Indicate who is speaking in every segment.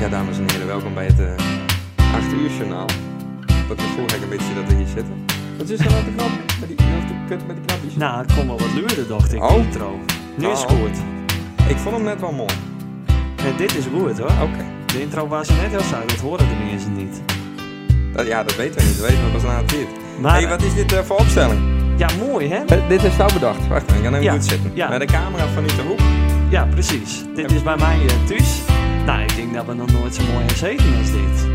Speaker 1: Ja, dames en heren, welkom bij het eh 8 uur journaal. Dat gevoel heb ik een beetje dat we hier zitten. Wat is er nou de knap? Met die, nou, de kut met die knapjes.
Speaker 2: Nou, het kon wel wat luurder, dacht ik.
Speaker 1: Oh.
Speaker 2: Intro. Nu is het
Speaker 1: Oh.
Speaker 2: goed. Nou.
Speaker 1: Ik vond hem net wel mooi.
Speaker 2: En dit is goed hoor.
Speaker 1: Oké.
Speaker 2: De intro was net heel saai, dat horen de mensen niet.
Speaker 1: Dat- Ja, dat weten we niet. Dat weten we pas na het viert.
Speaker 2: Maar,
Speaker 1: hey, wat is dit eh, voor opstelling? Eh,
Speaker 2: Ja, mooi hè?
Speaker 1: dit is jou bedacht. Wacht, ik ga even
Speaker 2: Ja,
Speaker 1: goed zitten.
Speaker 2: ja.
Speaker 1: Met de camera van niet de hoek.
Speaker 2: Ja, precies. Dit is bij mij eh, thuis. Nou, ik denk dat we nog nooit zo mooi hebben gezeten als dit.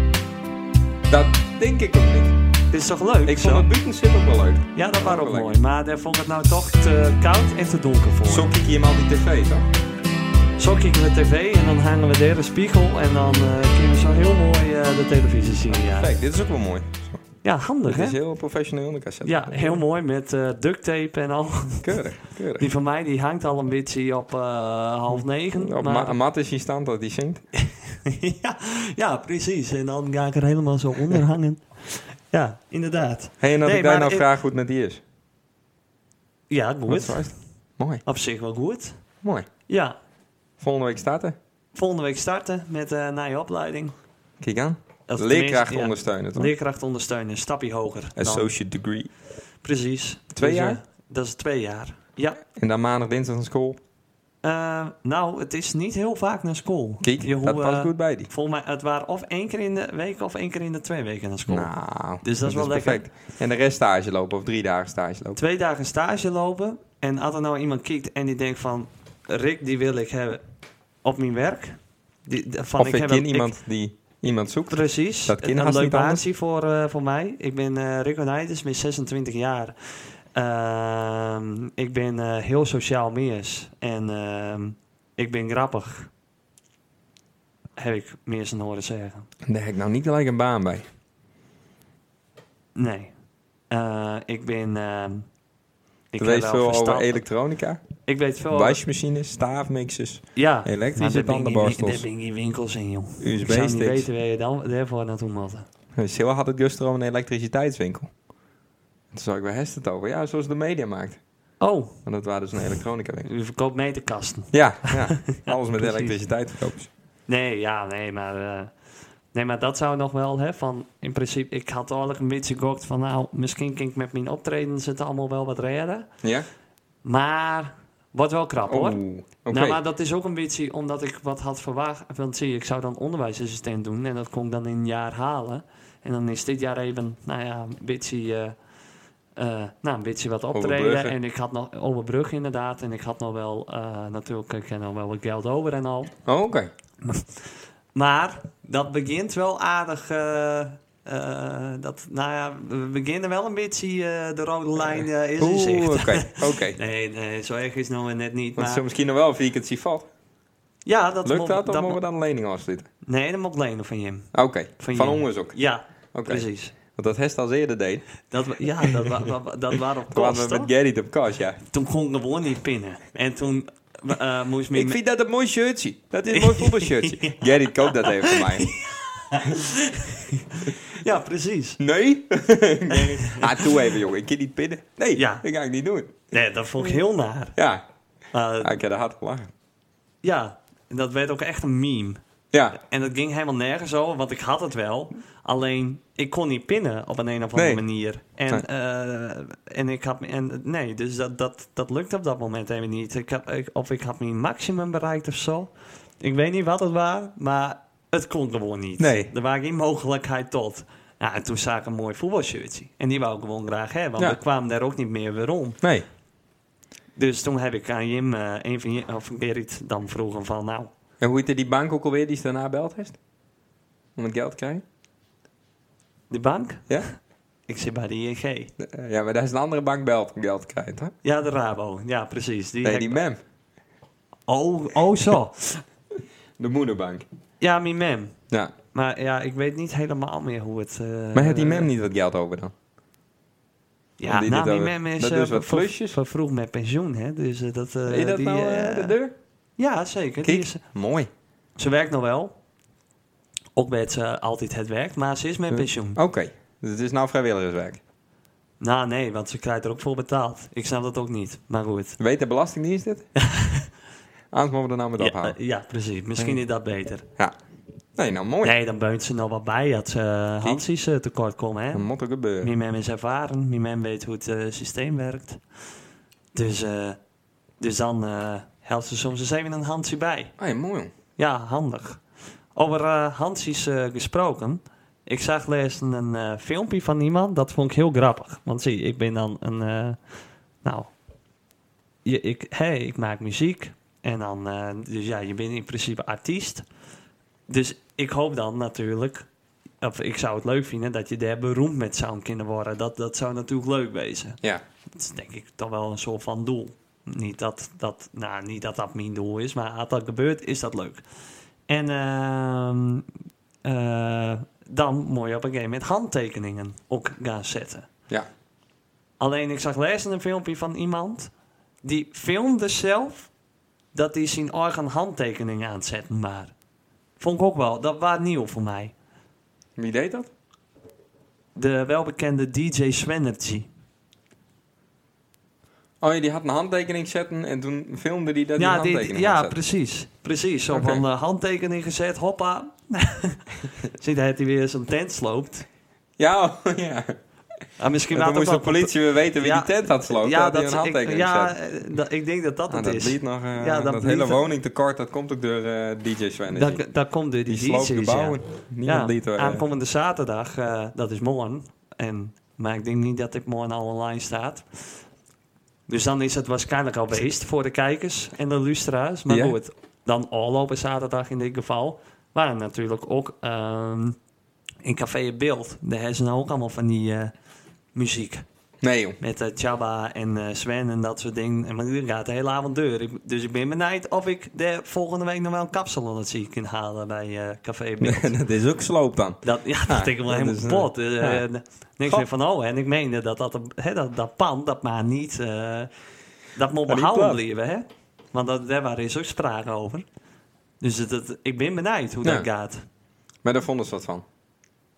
Speaker 1: Dat denk ik ook niet.
Speaker 2: Dit is toch leuk?
Speaker 1: Ik
Speaker 2: zo?
Speaker 1: vond het buitenzit ook wel leuk.
Speaker 2: Ja, dat was
Speaker 1: Ook
Speaker 2: ook
Speaker 1: leuk.
Speaker 2: mooi. Maar daar vond ik het nou toch te koud en te donker voor.
Speaker 1: Zo kijk je hem al die tv, toch?
Speaker 2: Zo kijken we tv en dan hangen we daar een spiegel. En dan eh, kunnen we zo heel mooi eh, de televisie zien. Ja,
Speaker 1: Kijk, dit is ook wel mooi. Zo.
Speaker 2: ja handig
Speaker 1: Dit
Speaker 2: hè?
Speaker 1: is heel professioneel, de cassette.
Speaker 2: Ja, heel mooi met eh, duct tape en al.
Speaker 1: Keurig, keurig.
Speaker 2: Die van mij die hangt al een beetje op eh, half negen.
Speaker 1: Op
Speaker 2: maar-
Speaker 1: Nou, Ma- Matt is in stand dat hij zingt.
Speaker 2: ja, ja, precies. En dan ga ik er helemaal zo onder hangen. Ja, inderdaad.
Speaker 1: Hey, en dat
Speaker 2: Nee,
Speaker 1: ik daar
Speaker 2: maar
Speaker 1: nou
Speaker 2: ik-
Speaker 1: vraag hoe het met die is.
Speaker 2: Ja, goed.
Speaker 1: Wat is het? Mooi,
Speaker 2: Op zich wel goed.
Speaker 1: mooi.
Speaker 2: Ja,
Speaker 1: Volgende week starten.
Speaker 2: volgende week starten met eh na je opleiding.
Speaker 1: Kijk aan.
Speaker 2: Of
Speaker 1: Leerkracht
Speaker 2: tenminste, ja,
Speaker 1: ondersteunen, toch?
Speaker 2: Leerkracht ondersteunen, een stapje hoger. dan.
Speaker 1: Associate degree.
Speaker 2: Precies.
Speaker 1: Twee
Speaker 2: eh,
Speaker 1: jaar?
Speaker 2: dat is twee jaar. Ja.
Speaker 1: En dan maandag, dinsdag naar school.
Speaker 2: Eh, nou, het is niet heel vaak naar school.
Speaker 1: Kijk,
Speaker 2: Je
Speaker 1: dat
Speaker 2: hoe,
Speaker 1: past
Speaker 2: eh,
Speaker 1: goed bij die.
Speaker 2: Volgens mij, het waren of één keer in de week of één keer in de twee weken naar school.
Speaker 1: Nou,
Speaker 2: Dus dat is wel lekker.
Speaker 1: perfect. En de rest stage lopen of drie dagen stage lopen.
Speaker 2: twee dagen stage lopen. En als er nou iemand kijkt en die denkt van... Rick, die wil ik hebben op mijn werk. Die, de- van,
Speaker 1: of
Speaker 2: ik
Speaker 1: ik
Speaker 2: heb
Speaker 1: ken
Speaker 2: een- ik-
Speaker 1: iemand die iemand zoekt.
Speaker 2: precies.
Speaker 1: Dat ken
Speaker 2: een
Speaker 1: haast
Speaker 2: leuk
Speaker 1: niet anders.
Speaker 2: baantje voor, eh, voor mij. Ik ben eh Rick Onijders, ben 26 jaar. Ehm, ik ben eh, heel sociaal meers. En ehm, ik ben grappig. Heb ik meers een horen zeggen.
Speaker 1: Daar heb ik nou niet gelijk een baan bij.
Speaker 2: Nee. Eh, ik ben... ehm, ik
Speaker 1: Je
Speaker 2: heb
Speaker 1: weet
Speaker 2: wel
Speaker 1: veel
Speaker 2: verstand-
Speaker 1: over elektronica,
Speaker 2: Ik weet veel over-
Speaker 1: wasmachines, staafmixers,
Speaker 2: Ja. Maar
Speaker 1: elektrische
Speaker 2: daar ben je in-
Speaker 1: tandenborstels,
Speaker 2: Daar ben je in winkels in, joh. Ik zou niet
Speaker 1: USB-sticks.
Speaker 2: weten waar je dan daarvoor naartoe moet.
Speaker 1: Sil had het gisteren om een elektriciteitswinkel. Toen zag ik bij Hest het over. Ja, zoals de media maakt.
Speaker 2: Oh,
Speaker 1: Want dat waren dus een elektronica winkel.
Speaker 2: u verkoopt meterkasten.
Speaker 1: Ja, ja. alles met
Speaker 2: precies.
Speaker 1: elektriciteit verkopen ze.
Speaker 2: Nee, ja, nee, maar... eh, nee, maar dat zou nog wel, hè, van... In principe, ik had eigenlijk een beetje gegokt van... Nou, misschien kan ik met mijn optredens het allemaal wel wat redden.
Speaker 1: Ja?
Speaker 2: Maar... Wordt wel krap, hoor.
Speaker 1: Oeh, oké.
Speaker 2: Nou, maar dat is ook een beetje omdat ik wat had verwacht. Want zie, je, ik zou dan onderwijsassistent doen en dat kon ik dan in een jaar halen. En dan is dit jaar even, nou ja, een beetje, eh, eh, nou, een beetje wat optreden.
Speaker 1: Overbruggen.
Speaker 2: En ik had nog overbrug inderdaad. En ik had nog wel, eh, natuurlijk, ik heb nog wel wat geld over en al.
Speaker 1: Oh, oké.
Speaker 2: Maar dat begint wel aardig. eh, eh, dat, nou ja, we beginnen wel een beetje eh, de rode lijn eh, is in
Speaker 1: Oeh,
Speaker 2: zicht.
Speaker 1: oké. oké.
Speaker 2: Nee, nee, zo erg is het nou weer net niet.
Speaker 1: Want
Speaker 2: Maar,
Speaker 1: zo misschien nog wel een vakantie valt.
Speaker 2: ja, dat
Speaker 1: Lukt
Speaker 2: moet-
Speaker 1: dat? Of
Speaker 2: dat
Speaker 1: mogen we
Speaker 2: moet-
Speaker 1: dan een lening afsluiten?
Speaker 2: Nee, dat moet lenen van Jim.
Speaker 1: Oké.
Speaker 2: Van
Speaker 1: Van,
Speaker 2: je-
Speaker 1: ongens ook. Oké.
Speaker 2: Ja, precies.
Speaker 1: Want dat Hest als eerder deed.
Speaker 2: Dat, wa- ja, dat, wa- wa- wa- dat waren op
Speaker 1: Toen waren
Speaker 2: kosten.
Speaker 1: we met Gerrit op kast, ja.
Speaker 2: Toen kon ik gewoon niet pinnen. En toen eh, moest mijn...
Speaker 1: Ik vind dat een mooi shirtje. Dat is een mooi voetbalshirtje. Gerrit, koop dat even voor mij.
Speaker 2: Ja, precies.
Speaker 1: Nee? ah, toe even, jongen. Ik kan niet pinnen. Nee,
Speaker 2: Ja.
Speaker 1: dat ga ik niet doen.
Speaker 2: Nee, dat vond ik heel naar.
Speaker 1: Ja,
Speaker 2: Maar,
Speaker 1: ah, ik heb er hard gelachen.
Speaker 2: ja, en dat werd ook echt een meme.
Speaker 1: Ja,
Speaker 2: En dat ging helemaal nergens over, want ik had het wel. Alleen, ik kon niet pinnen op een, een of andere
Speaker 1: Nee.
Speaker 2: manier. En,
Speaker 1: Nee.
Speaker 2: eh, en ik had... En, nee, dus dat, dat, dat lukt op dat moment even niet. Ik had, ik- of ik had mijn maximum bereikt of zo. Ik weet niet wat het was, maar het kon gewoon niet.
Speaker 1: Nee.
Speaker 2: Er was geen mogelijkheid tot. Nou, en toen zag ik een mooi voetbalshirtje. En die wou ik gewoon graag hebben, want
Speaker 1: Ja.
Speaker 2: we kwamen daar ook niet meer weer om.
Speaker 1: nee.
Speaker 2: Dus toen heb ik aan Jim, eh, een van Jim, of Gerrit, dan vroegen van... Nou,
Speaker 1: En hoe heette die bank ook alweer die ze daarna beld heeft? Om het geld te krijgen?
Speaker 2: de bank?
Speaker 1: Ja?
Speaker 2: Ik zit bij de E ING.
Speaker 1: Eh, Ja, maar daar is een andere bank belt om geld te krijgen, hè?
Speaker 2: Ja, de Rabo. Ja, precies. Die
Speaker 1: Nee,
Speaker 2: hek-
Speaker 1: die mem.
Speaker 2: Oh, oh, zo.
Speaker 1: De moederbank.
Speaker 2: ja, mijn mem.
Speaker 1: Ja.
Speaker 2: Maar ja, ik weet niet helemaal meer hoe het... eh,
Speaker 1: Maar heeft die mem niet wat geld over dan?
Speaker 2: Ja,
Speaker 1: Want die
Speaker 2: nou,
Speaker 1: doet
Speaker 2: mijn
Speaker 1: al-
Speaker 2: mem is
Speaker 1: dat
Speaker 2: eh,
Speaker 1: doet wat
Speaker 2: ver-
Speaker 1: klusjes.
Speaker 2: vervroegd met pensioen, hè. Dus eh, dat... eh,
Speaker 1: Is dat
Speaker 2: die,
Speaker 1: nou eh,
Speaker 2: eh,
Speaker 1: de deur?
Speaker 2: Ja, zeker. Die
Speaker 1: Kijk,
Speaker 2: is,
Speaker 1: mooi.
Speaker 2: ze werkt nog wel. Ook met ze altijd het werk, maar ze is met pensioen.
Speaker 1: Oké, dus het is nou vrijwilligerswerk.
Speaker 2: Nou, nee, want ze krijgt er ook voor betaald. Ik snap dat ook niet, maar goed.
Speaker 1: Weet de Belastingdienst dit? Anders mogen we er nou met
Speaker 2: Ja,
Speaker 1: ophouden.
Speaker 2: eh, ja, precies. Misschien is dat beter.
Speaker 1: Ja. Nee, nou mooi.
Speaker 2: Nee, dan beunt ze nog wat bij dat ze eh, Hansies eh, tekort komen. Hè?
Speaker 1: Dat moet er gebeuren.
Speaker 2: Mijn mem is ervaren, mijn mem weet hoe het eh, systeem werkt. Dus, eh, dus dan eh helpt ze soms eens even een Hansie bij.
Speaker 1: Ah, ja, mooi jong.
Speaker 2: Ja, handig. Over eh Hansies eh, gesproken. Ik zag laatst een eh, filmpje van iemand, dat vond ik heel grappig. Want zie, ik ben dan een. eh, nou, je, ik, hey, ik maak muziek. En dan, eh, dus ja, je bent in principe artiest. Dus ik hoop dan natuurlijk, of ik zou het leuk vinden dat je daar beroemd met zou kunnen worden. Dat, dat zou natuurlijk leuk wezen.
Speaker 1: Ja.
Speaker 2: Dat is denk ik toch wel een soort van doel. Niet dat dat, nou, niet dat, dat mijn doel is, maar als dat gebeurt, is dat leuk. En ehm, eh, dan moet je op een gegeven moment handtekeningen ook gaan zetten.
Speaker 1: Ja.
Speaker 2: Alleen ik zag lezen een filmpje van iemand die filmde zelf dat hij zijn eigen handtekening aan het zetten maar. Vond ik ook wel, dat was nieuw voor mij.
Speaker 1: Wie deed dat?
Speaker 2: De welbekende DJ Swenergy.
Speaker 1: Oh ja, die had een handtekening zetten en toen filmde die dat die
Speaker 2: ja, die-
Speaker 1: handtekening had
Speaker 2: ja
Speaker 1: zetten.
Speaker 2: precies. Precies, zo
Speaker 1: Oké.
Speaker 2: van eh, handtekening gezet, hoppa. Ziet hij dat hij weer zijn tent sloopt.
Speaker 1: Ja, oh, ja.
Speaker 2: Ah, misschien
Speaker 1: En toen
Speaker 2: later
Speaker 1: moest de
Speaker 2: wel-
Speaker 1: politie weer weten wie
Speaker 2: Ja,
Speaker 1: die tent had slopen. Ja, dat hij een
Speaker 2: ik,
Speaker 1: handtekening
Speaker 2: ja,
Speaker 1: zet.
Speaker 2: eh, dat- ik denk dat dat
Speaker 1: Ah,
Speaker 2: het
Speaker 1: dat
Speaker 2: is.
Speaker 1: liet nog, eh,
Speaker 2: Ja, dat
Speaker 1: dat, hele
Speaker 2: liet-
Speaker 1: woningtekort, dat komt ook door eh, DJ Sven.
Speaker 2: Dat, dat komt door die,
Speaker 1: die sloopt de
Speaker 2: DJ's,
Speaker 1: bouwen.
Speaker 2: ja.
Speaker 1: Niemand
Speaker 2: Ja,
Speaker 1: liet er, eh,
Speaker 2: aankomende zaterdag, eh, dat is morgen. En, maar ik denk niet dat dit morgen al online staat. Dus dan is het waarschijnlijk al beest voor de kijkers en de luisteraars. Maar
Speaker 1: Ja.
Speaker 2: goed, dan afgelopen zaterdag in dit geval waren natuurlijk ook ehm, in Café Beeld. Daar hebben ze nou ook allemaal van die eh, muziek.
Speaker 1: Nee joh.
Speaker 2: Met eh Chaba en eh, Sven en dat soort dingen. En maar die gaat de hele avond deur. Ik- dus ik ben benijd of ik de volgende week nog wel een kapsel onder zie kan halen bij eh, Café Beeld.
Speaker 1: dat is ook sloop dan.
Speaker 2: Dat, ja, dat
Speaker 1: Ah,
Speaker 2: denk ik wel
Speaker 1: dat
Speaker 2: helemaal
Speaker 1: is, eh,
Speaker 2: kapot. Eh,
Speaker 1: ja.
Speaker 2: eh, niks
Speaker 1: Goh.
Speaker 2: meer van oh. En ik meende dat dat, hè, dat, dat pand, dat maar niet... eh, dat moet
Speaker 1: Maar niet
Speaker 2: behouden
Speaker 1: plat.
Speaker 2: blijven, hè. Want dat, daar waar is ook sprake over. Dus het, het- ik ben benijd hoe dat
Speaker 1: Ja.
Speaker 2: gaat.
Speaker 1: Maar daar vonden ze wat van.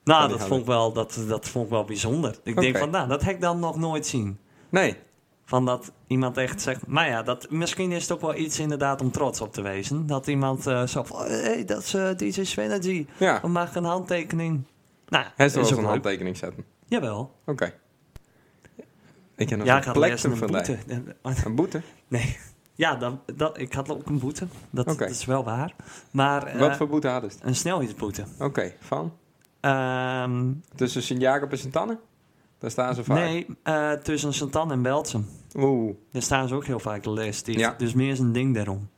Speaker 2: Nou,
Speaker 1: die
Speaker 2: dat
Speaker 1: houden.
Speaker 2: vond, ik wel, dat, dat vond ik wel bijzonder. Ik denk
Speaker 1: Oké.
Speaker 2: van, nou, dat heb ik dan nog nooit zien.
Speaker 1: Nee.
Speaker 2: Van dat iemand echt zegt... Maar ja, dat, misschien is het ook wel iets inderdaad om trots op te wezen. Dat iemand eh, zo van... Hé, hey, dat is eh, DJ Svenergy.
Speaker 1: Ja.
Speaker 2: We maken een handtekening. Nou,
Speaker 1: Ah. Hij zou
Speaker 2: is
Speaker 1: wel
Speaker 2: ook
Speaker 1: een
Speaker 2: leuk.
Speaker 1: handtekening zetten.
Speaker 2: Jawel.
Speaker 1: Oké. Ik heb nog
Speaker 2: Ja, ik
Speaker 1: een
Speaker 2: had
Speaker 1: plek
Speaker 2: eerst een
Speaker 1: van
Speaker 2: boete.
Speaker 1: Een boete?
Speaker 2: Nee. Ja, dat, dat, ik had ook een boete. Dat,
Speaker 1: Oké.
Speaker 2: dat is wel waar. Maar eh,
Speaker 1: Wat voor boete hadden ze?
Speaker 2: een snelheidsboete.
Speaker 1: Oké, van?
Speaker 2: Ehm,
Speaker 1: Tussen Sint-Jacob en Sint-Anne? Daar staan ze vaak.
Speaker 2: nee, eh, tussen Santan en Beltsum.
Speaker 1: Oeh,
Speaker 2: Daar staan ze ook heel vaak de les. Die,
Speaker 1: Ja.
Speaker 2: Dus meer is een ding daarom.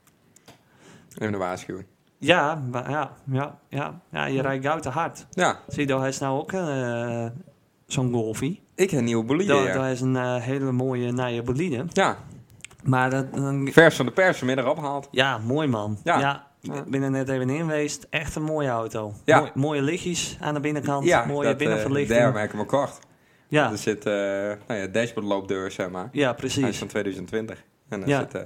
Speaker 1: even een waarschuwing.
Speaker 2: Ja, wa- ja, ja, ja, ja je rijdt goud te hard.
Speaker 1: Ja,
Speaker 2: Zie je, hij is nou ook eh, zo'n golfie.
Speaker 1: ik heb een nieuwe bolide,
Speaker 2: Dat
Speaker 1: ja.
Speaker 2: Hij is een eh, hele mooie nije bolide.
Speaker 1: Ja,
Speaker 2: Maar dat, dan-
Speaker 1: vers van de pers vanmiddag opgehaald.
Speaker 2: Ja, mooi man. Ja.
Speaker 1: Ja.
Speaker 2: ik ben er net even in geweest. Echt een mooie auto.
Speaker 1: Ja.
Speaker 2: Mooi- mooie lichtjes aan de binnenkant. mooie
Speaker 1: dat, eh,
Speaker 2: binnenverlichting.
Speaker 1: Daarom heb ik hem al kort.
Speaker 2: ja.
Speaker 1: Er zit eh nou ja, dashboardloopdeur, zeg maar.
Speaker 2: ja,
Speaker 1: Hij is
Speaker 2: precies.
Speaker 1: van 2020. En daar
Speaker 2: Ja.
Speaker 1: zit eh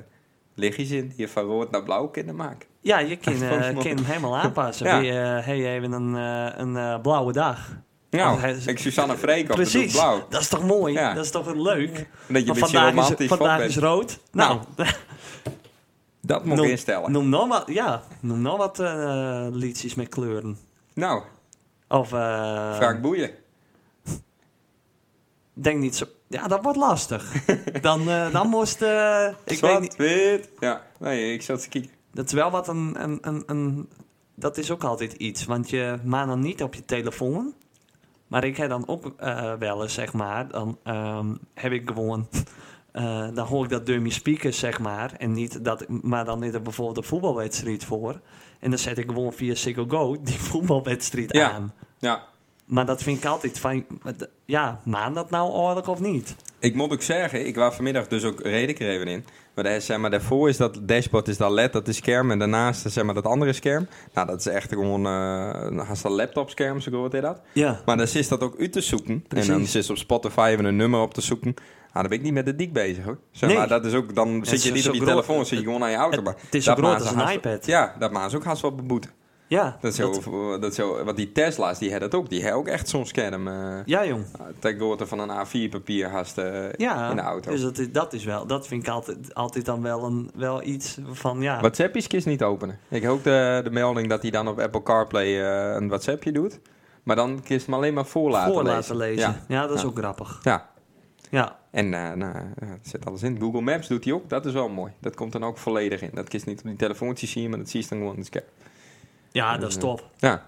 Speaker 1: lichtjes in die je van rood naar blauw kunnen maken.
Speaker 2: Ja, je kan,
Speaker 1: Hij
Speaker 2: eh,
Speaker 1: is van-
Speaker 2: kan hem helemaal aanpassen.
Speaker 1: Ja.
Speaker 2: Wie, eh, hey, even een, eh, een eh, blauwe dag.
Speaker 1: Nou,
Speaker 2: Want hij is-
Speaker 1: ik Susanne Freek op de
Speaker 2: precies.
Speaker 1: blauw.
Speaker 2: Dat is toch mooi?
Speaker 1: Ja.
Speaker 2: Dat is toch leuk?
Speaker 1: En dat je
Speaker 2: Maar
Speaker 1: een beetje
Speaker 2: vandaag
Speaker 1: romantisch
Speaker 2: is,
Speaker 1: van
Speaker 2: vandaag
Speaker 1: bent.
Speaker 2: is rood. Nou,
Speaker 1: Dat moet ik
Speaker 2: noem,
Speaker 1: instellen.
Speaker 2: noem nog wat, ja, noem nog wat eh, liedjes met kleuren.
Speaker 1: Nou,
Speaker 2: Of
Speaker 1: Frank
Speaker 2: eh
Speaker 1: Boeien.
Speaker 2: denk niet zo. Ja, dat wordt lastig. dan, eh, dan moest. eh, ik weet
Speaker 1: Zwart,
Speaker 2: niet.
Speaker 1: wit. Ja, nee, ik zat te kijken.
Speaker 2: Dat is wel wat een, een, een, een- Dat is ook altijd iets. Want je maakt dan niet op je telefoon. Maar ik heb dan ook eh, wel eens, zeg maar. Dan ehm, heb ik gewoon. eh, dan hoor ik dat door mijn speakers, zeg maar. En niet dat, maar dan is er bijvoorbeeld een voetbalwedstrijd voor. En dan zet ik gewoon via Ziggo Go die voetbalwedstrijd
Speaker 1: Ja.
Speaker 2: aan.
Speaker 1: Ja,
Speaker 2: Maar dat vind ik altijd van... Ja, maan dat nou oorlijk of niet?
Speaker 1: ik moet ook zeggen, ik was vanmiddag dus ook, reed ik er even in. Maar, daar, zeg maar daarvoor is dat dashboard, is dat LED, dat is scherm. En daarnaast zeg maar dat andere scherm. Nou, dat is echt gewoon, eh haast een laptopscherm, zo groot is dat.
Speaker 2: Ja.
Speaker 1: Maar dan zit dat ook uit te zoeken.
Speaker 2: Precies.
Speaker 1: En dan zit ze op Spotify even een nummer op te zoeken. Nou, dan ben ik niet met de dik bezig hoor. Zeg
Speaker 2: Nee.
Speaker 1: maar, dat is ook, dan
Speaker 2: het
Speaker 1: zit je
Speaker 2: is
Speaker 1: niet
Speaker 2: zo
Speaker 1: op je
Speaker 2: groot.
Speaker 1: telefoon, zit je gewoon aan je auto.
Speaker 2: Het-
Speaker 1: maar
Speaker 2: het is zo
Speaker 1: dat
Speaker 2: groot
Speaker 1: maakt
Speaker 2: als
Speaker 1: ze
Speaker 2: een
Speaker 1: haast-
Speaker 2: iPad.
Speaker 1: Ja, dat maakt ze ook haast wel beboeten.
Speaker 2: Ja,
Speaker 1: Dat is
Speaker 2: dat-
Speaker 1: heel, dat is heel, want die Tesla's, die hebben dat ook. Die hebben ook echt zo'n scherm. eh
Speaker 2: ja jong.
Speaker 1: ter grootte van een A4-papier haast eh,
Speaker 2: Ja,
Speaker 1: in de auto.
Speaker 2: dus dat is, dat is wel, dat vind ik altijd, altijd dan wel, een, wel iets van, ja,
Speaker 1: WhatsAppjes kist niet openen. Ik hoop de, de melding dat hij dan op Apple CarPlay eh, een WhatsAppje doet. Maar dan kist hem alleen maar voor laten
Speaker 2: voor
Speaker 1: lezen.
Speaker 2: laten lezen.
Speaker 1: Ja.
Speaker 2: Ja, dat is
Speaker 1: Ja.
Speaker 2: ook grappig.
Speaker 1: ja.
Speaker 2: Ja,
Speaker 1: En eh, nou, ja, er zit alles in. Google Maps doet hij ook. Dat is wel mooi. Dat komt dan ook volledig in. Dat kist niet op die telefoontje zien, maar dat zie je dan gewoon in de scherm.
Speaker 2: ja dat is
Speaker 1: Ja.
Speaker 2: top.
Speaker 1: Ja,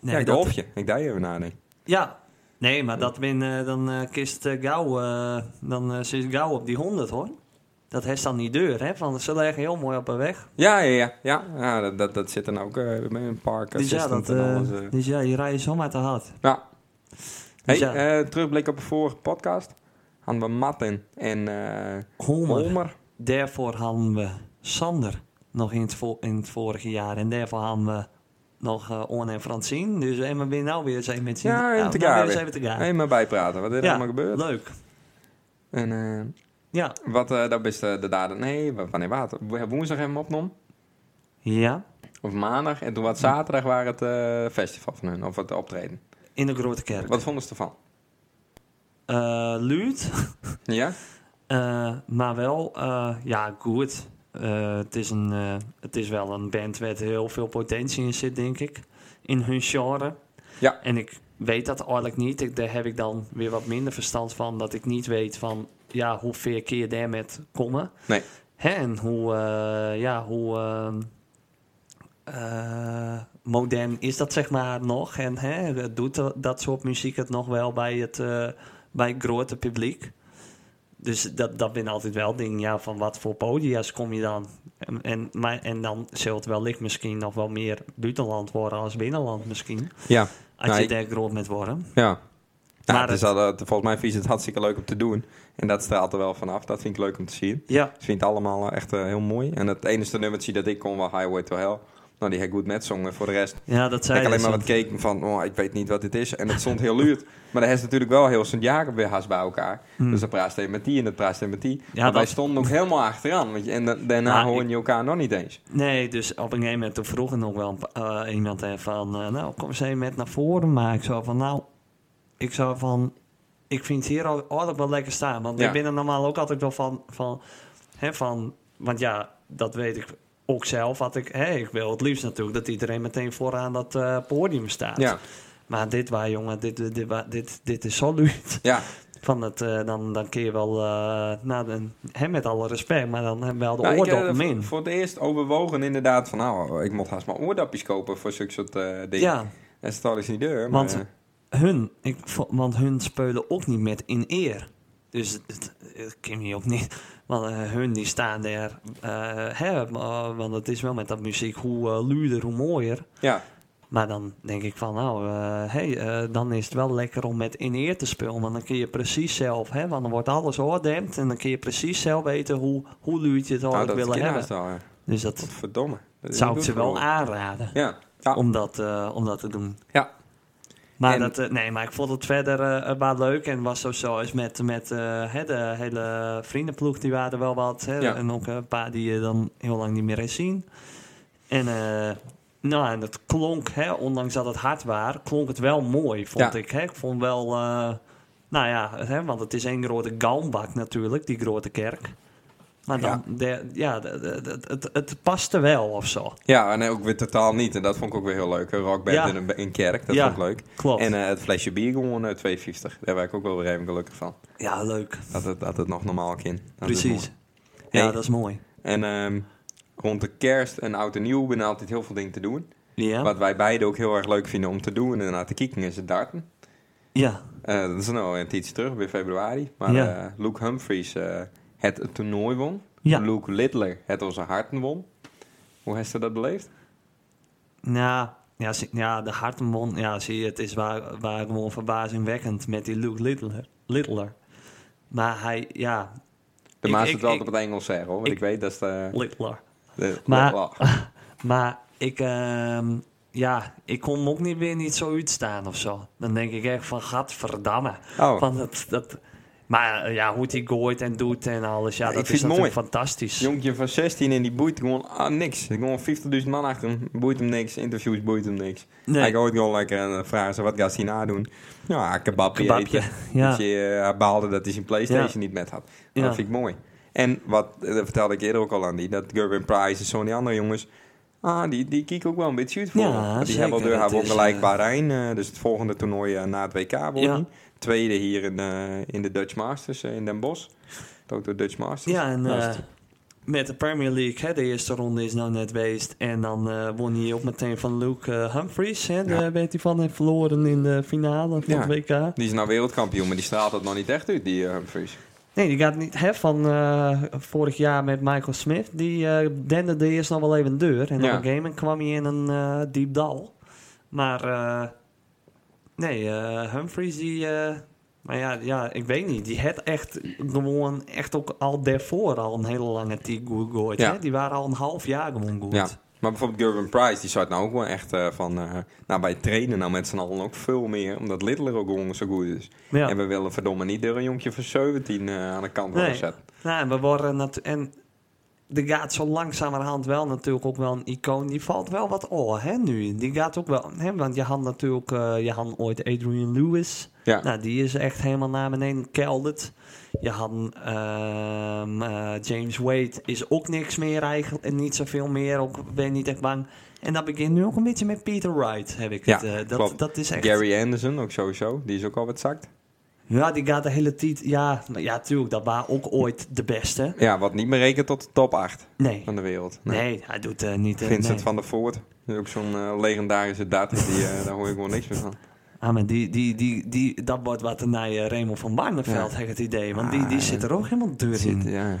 Speaker 2: Nee,
Speaker 1: ja ik
Speaker 2: dat-
Speaker 1: hoop je. Ik daar even nadenken.
Speaker 2: Ja, nee, maar dat ben, eh, dan eh, kist eh, gauw, eh, dan eh, zit gauw op die 100 hoor. Dat heeft dan niet deur, hè? Van ze leggen heel mooi op een weg.
Speaker 1: Ja, ja, ja. ja. ja dat, dat, dat zit dan ook eh, bij een park.
Speaker 2: Dus ja,
Speaker 1: assistant
Speaker 2: dat,
Speaker 1: en
Speaker 2: eh,
Speaker 1: alles, eh.
Speaker 2: dus ja, je rijdt zomaar te hard.
Speaker 1: Ja. Hey,
Speaker 2: Dus ja.
Speaker 1: eh, terugblik op de vorige podcast. Hadden we Matten en eh
Speaker 2: Homer.
Speaker 1: Holmer.
Speaker 2: Daarvoor hadden we Sander nog in het, vo- in het vorige jaar. En daarvoor hadden we nog eh On en Francine. Dus en we zijn nou weer eens even met z'n-
Speaker 1: Ja, en
Speaker 2: nou,
Speaker 1: te
Speaker 2: nou
Speaker 1: gaan
Speaker 2: weer eens
Speaker 1: weer.
Speaker 2: even te gaan.
Speaker 1: Hey, maar bijpraten. Wat is er
Speaker 2: Ja.
Speaker 1: allemaal gebeurd?
Speaker 2: Leuk.
Speaker 1: En eh,
Speaker 2: Ja.
Speaker 1: wat, eh dat is de, de daden. Nee, wa- wanneer water? Woensdag hebben we hem opgenomen.
Speaker 2: Ja.
Speaker 1: Of maandag. En toen was zaterdag waren het eh, festival van hun. Of het optreden.
Speaker 2: In de grote kerk.
Speaker 1: Wat vonden ze ervan?
Speaker 2: Eh, Luut.
Speaker 1: Ja?
Speaker 2: Eh, maar wel, eh, ja, goed. Eh, het, is een, eh, het is wel een band waar heel veel potentie in zit, denk ik. In hun genre.
Speaker 1: Ja.
Speaker 2: En ik weet dat eigenlijk niet. Ik, daar heb ik dan weer wat minder verstand van. Dat ik niet weet van, ja, hoe ver keer je daarmee komen.
Speaker 1: Nee.
Speaker 2: Hè, en hoe, eh, ja, hoe ehm, eh, modern is dat zeg maar nog. En hè, doet dat- dat soort muziek het nog wel bij het, eh, bij het grote publiek. Dus dat, dat ben altijd wel dingen, ja, van wat voor podia's kom je dan? En, en, maar, en dan zult het wellicht misschien nog wel meer buitenland worden als binnenland misschien.
Speaker 1: Ja.
Speaker 2: Als
Speaker 1: Nou,
Speaker 2: je
Speaker 1: ik-
Speaker 2: daar groot met worden.
Speaker 1: Ja. Nou,
Speaker 2: Maar
Speaker 1: het is
Speaker 2: het-
Speaker 1: al, eh, volgens mij vies het hartstikke leuk om te doen. En dat straalt er wel vanaf. Dat vind ik leuk om te zien.
Speaker 2: Ja,
Speaker 1: Ze vindt het allemaal eh, echt eh, heel mooi. En het enige nummertje dat ik kon was Highway to Hell. Nou, die heb ik goed met zongen. Voor de rest
Speaker 2: ja dat
Speaker 1: heb
Speaker 2: zei
Speaker 1: ik alleen maar
Speaker 2: je
Speaker 1: wat keken van, oh, ik weet niet wat dit is. En het stond heel luurt. Maar daar is natuurlijk wel heel Sint-Jacob weer haast bij elkaar.
Speaker 2: Hmm.
Speaker 1: Dus dan praat hij met die en dan praat hij met die.
Speaker 2: Ja,
Speaker 1: maar wij
Speaker 2: dat-
Speaker 1: stonden ook helemaal achteraan. Want je, en da- daarna
Speaker 2: Maar
Speaker 1: horen
Speaker 2: ik-
Speaker 1: je elkaar nog niet eens.
Speaker 2: Nee, dus op een gegeven moment toen vroeg er nog wel een pa- eh, iemand hè, van... eh, nou, kom eens even met naar voren. Maar ik zou van, nou... Ik zou van... Ik vind het hier al altijd wel lekker staan. Want
Speaker 1: Ja.
Speaker 2: ik ben er normaal ook altijd wel van... van, hè, van want ja, dat weet ik ook zelf. Wat ik, hè, ik wil het liefst natuurlijk dat iedereen meteen vooraan dat eh, podium staat.
Speaker 1: Ja,
Speaker 2: Maar dit waar, jongen, dit, dit, dit, waar- dit, dit is zo luid.
Speaker 1: ja,
Speaker 2: Van het, eh, dan, dan kun je wel... eh nou, dan, hè, met alle respect, maar dan hebben we wel de
Speaker 1: Nou, ik heb
Speaker 2: oordoppen
Speaker 1: er
Speaker 2: in.
Speaker 1: voor het eerst overwogen inderdaad van, nou, ik moet haast maar oordapjes kopen voor zulke soort eh, dingen.
Speaker 2: Ja,
Speaker 1: En staat is niet deur, maar...
Speaker 2: Want-
Speaker 1: eh,
Speaker 2: hun, ik, vo- want hun spelen ook niet met in eer. Dus het, het, het kan je ook niet. Want eh, hun die staan daar. eh, hè, maar- want het is wel met dat muziek hoe eh luider, hoe mooier.
Speaker 1: ja,
Speaker 2: Maar dan denk ik van, nou, eh, hey, eh, dan is het wel lekker om met in eer te spelen. Want dan kun je precies zelf, hè, want dan wordt alles oordempt. En dan kun je precies zelf weten hoe, hoe luid je het
Speaker 1: nou,
Speaker 2: eigenlijk
Speaker 1: dat
Speaker 2: willen
Speaker 1: ken
Speaker 2: hebben.
Speaker 1: haast al, ja.
Speaker 2: Dus dat
Speaker 1: Verdomme. Dat is
Speaker 2: zou ik
Speaker 1: niet
Speaker 2: ze
Speaker 1: goed
Speaker 2: wel
Speaker 1: voor me.
Speaker 2: aanraden
Speaker 1: Ja. ja.
Speaker 2: om, dat, eh, om dat te doen.
Speaker 1: Ja.
Speaker 2: Maar,
Speaker 1: En-
Speaker 2: dat, eh, nee, maar ik vond het verder eh wel leuk en was sowieso eens met, met eh, hè, de hele vriendenploeg, die waren er wel wat. Hè,
Speaker 1: Ja.
Speaker 2: En ook een paar die je dan heel lang niet meer eens zien. En, eh, nou, en dat klonk, hè, ondanks dat het hard was, klonk het wel mooi, vond
Speaker 1: Ja.
Speaker 2: ik. Hè. Ik vond wel, eh, nou ja, hè, want het is één grote galmbak natuurlijk, die grote kerk. Maar dan, ja, ja de- de- de- het, het paste wel of zo.
Speaker 1: Ja, en ook weer totaal niet. En dat vond ik ook weer heel leuk. Een rockband
Speaker 2: Ja.
Speaker 1: in een in kerk, dat
Speaker 2: Ja.
Speaker 1: vond ik leuk.
Speaker 2: Klopt.
Speaker 1: En eh, het flesje bier gewoon eh, 2,50. Daar ben ik ook wel weer even gelukkig van.
Speaker 2: ja, leuk.
Speaker 1: Dat het, dat het nog normaal kan. nou, Dat is
Speaker 2: Precies.
Speaker 1: mooi.
Speaker 2: Ja,
Speaker 1: Hey.
Speaker 2: dat is mooi.
Speaker 1: En ehm, rond de kerst en oud en nieuw ben ik altijd heel veel dingen te doen.
Speaker 2: Ja.
Speaker 1: Wat wij beiden ook heel erg leuk vinden om te doen en naar te kijken is het darten.
Speaker 2: Ja.
Speaker 1: Eh, dat is nou een tijdje terug, weer februari. Maar
Speaker 2: Ja.
Speaker 1: eh, Luke Humphries eh, het toernooi won.
Speaker 2: Ja.
Speaker 1: Luke Littler het onze harten won. Hoe heeft ze dat beleefd?
Speaker 2: Nou, ja, zie- ja, de hartenmond, ja, zie je, het is waar, waar gewoon verbazingwekkend met die Luke Littler. Littler. Maar hij, ja,
Speaker 1: De
Speaker 2: Ik-
Speaker 1: maas
Speaker 2: ik-
Speaker 1: het altijd
Speaker 2: ik-
Speaker 1: op het Engels zeggen hoor. Want ik,
Speaker 2: ik-
Speaker 1: weet dat is de...
Speaker 2: Littler.
Speaker 1: de-
Speaker 2: Maar-
Speaker 1: Oh.
Speaker 2: Maar ik, ehm, ja, ik kon hem ook niet weer niet zo uitstaan of zo. Dan denk ik echt van, gadverdamme.
Speaker 1: Oh,
Speaker 2: Van dat, dat, Maar eh, ja, hoe het hij gooit en doet en alles. Ja,
Speaker 1: Ja,
Speaker 2: dat
Speaker 1: ik
Speaker 2: is
Speaker 1: vind het
Speaker 2: natuurlijk fantastisch.
Speaker 1: Jonkje van 16 en die boeit gewoon ah, niks. Gewoon 50.000 man achter hem. Boeit hem niks. Interviews boeit hem niks. Hij
Speaker 2: nee,
Speaker 1: gooit gewoon lekker en dan vragen ze wat gaat hij nadoen. Ja, een kebabje,
Speaker 2: kebabje.
Speaker 1: eten.
Speaker 2: Ja.
Speaker 1: Dat je, eh, hij baalde dat hij zijn Playstation
Speaker 2: Ja.
Speaker 1: niet met had.
Speaker 2: Ja.
Speaker 1: Dat vind ik mooi. En wat, eh, dat vertelde ik eerder ook al aan die, dat Gerwin Price en zo'n die andere jongens, ah, die, die kieken ook wel een beetje uit voor.
Speaker 2: Ja,
Speaker 1: hem. Want die
Speaker 2: zeker.
Speaker 1: hebben al door
Speaker 2: Dat
Speaker 1: haar
Speaker 2: is,
Speaker 1: gelijk
Speaker 2: eh,
Speaker 1: Bahrein, eh, dus het volgende toernooi eh, na het WK wordt
Speaker 2: Ja.
Speaker 1: die. Tweede hier in, eh, in de Dutch Masters eh, in Den Bosch. Dat ook door Dutch Masters.
Speaker 2: ja, en
Speaker 1: Dat Nou, is
Speaker 2: eh,
Speaker 1: het.
Speaker 2: met de Premier League, hè, de eerste ronde is nou net geweest. En dan eh, won hij ook meteen van Luke eh, Humphries. Hè,
Speaker 1: Ja.
Speaker 2: Daar werd hij van en verloren in de finale van
Speaker 1: Ja.
Speaker 2: het WK.
Speaker 1: die is nou wereldkampioen, maar die straalt dat nog niet echt uit, die eh, Humphries.
Speaker 2: Nee, die gaat niet hè, van eh, vorig jaar met Michael Smith. Die eh denderde eerst nog wel even deur. En
Speaker 1: Ja.
Speaker 2: op een game kwam hij in een eh, diep dal. Maar eh, nee, eh, Humphries die... eh, maar ja, ja, ik weet niet. Die had echt gewoon echt ook al daarvoor al een hele lange team goed gooid.
Speaker 1: Ja.
Speaker 2: hè. Die waren al een half jaar gewoon goed.
Speaker 1: Ja. Maar bijvoorbeeld Gerben Price, die zat nou ook wel echt eh, van... eh, nou, bij het trainen nou met z'n allen ook veel meer. Omdat Littler ook gewoon zo goed is.
Speaker 2: Ja.
Speaker 1: En we willen verdomme niet door een jonkje van 17 eh, aan de kant
Speaker 2: Nee.
Speaker 1: worden gezet.
Speaker 2: Nou, en we worden natu- en er gaat zo langzamerhand wel natuurlijk ook wel een icoon. Die valt wel wat oor, hè, nu. Die gaat ook wel, hè, want je had natuurlijk, eh, je had ooit Adrian Lewis.
Speaker 1: Ja.
Speaker 2: Nou, die is echt helemaal naar beneden gekelderd. Je had ehm, eh, James Wade, is ook niks meer eigenlijk. En niet zoveel meer, ook ben niet echt bang. En dat begint nu ook een beetje met Peter Wright, heb ik
Speaker 1: Ja,
Speaker 2: het. eh, dat,
Speaker 1: klopt.
Speaker 2: dat is echt...
Speaker 1: Gary Anderson ook sowieso. Die is ook al wat zakt.
Speaker 2: Ja, die gaat de hele tijd... Ja, maar ja, tuurlijk, dat waren ook ooit de beste.
Speaker 1: Ja, wat niet meer rekent tot de top 8
Speaker 2: Nee.
Speaker 1: van de wereld.
Speaker 2: Nee, hij doet eh, niet. eh,
Speaker 1: Vincent
Speaker 2: nee.
Speaker 1: van der Voort. Dat is ook zo'n eh, legendarische dat. Die, eh, daar hoor ik gewoon niks meer van.
Speaker 2: Ah, maar die, die, die, die, dat wordt wat naar eh, Raymond van Barneveld,
Speaker 1: Ja.
Speaker 2: heb ik het idee. Want die, die
Speaker 1: Ah,
Speaker 2: zit er ook helemaal deur
Speaker 1: Zit,
Speaker 2: in.
Speaker 1: ja.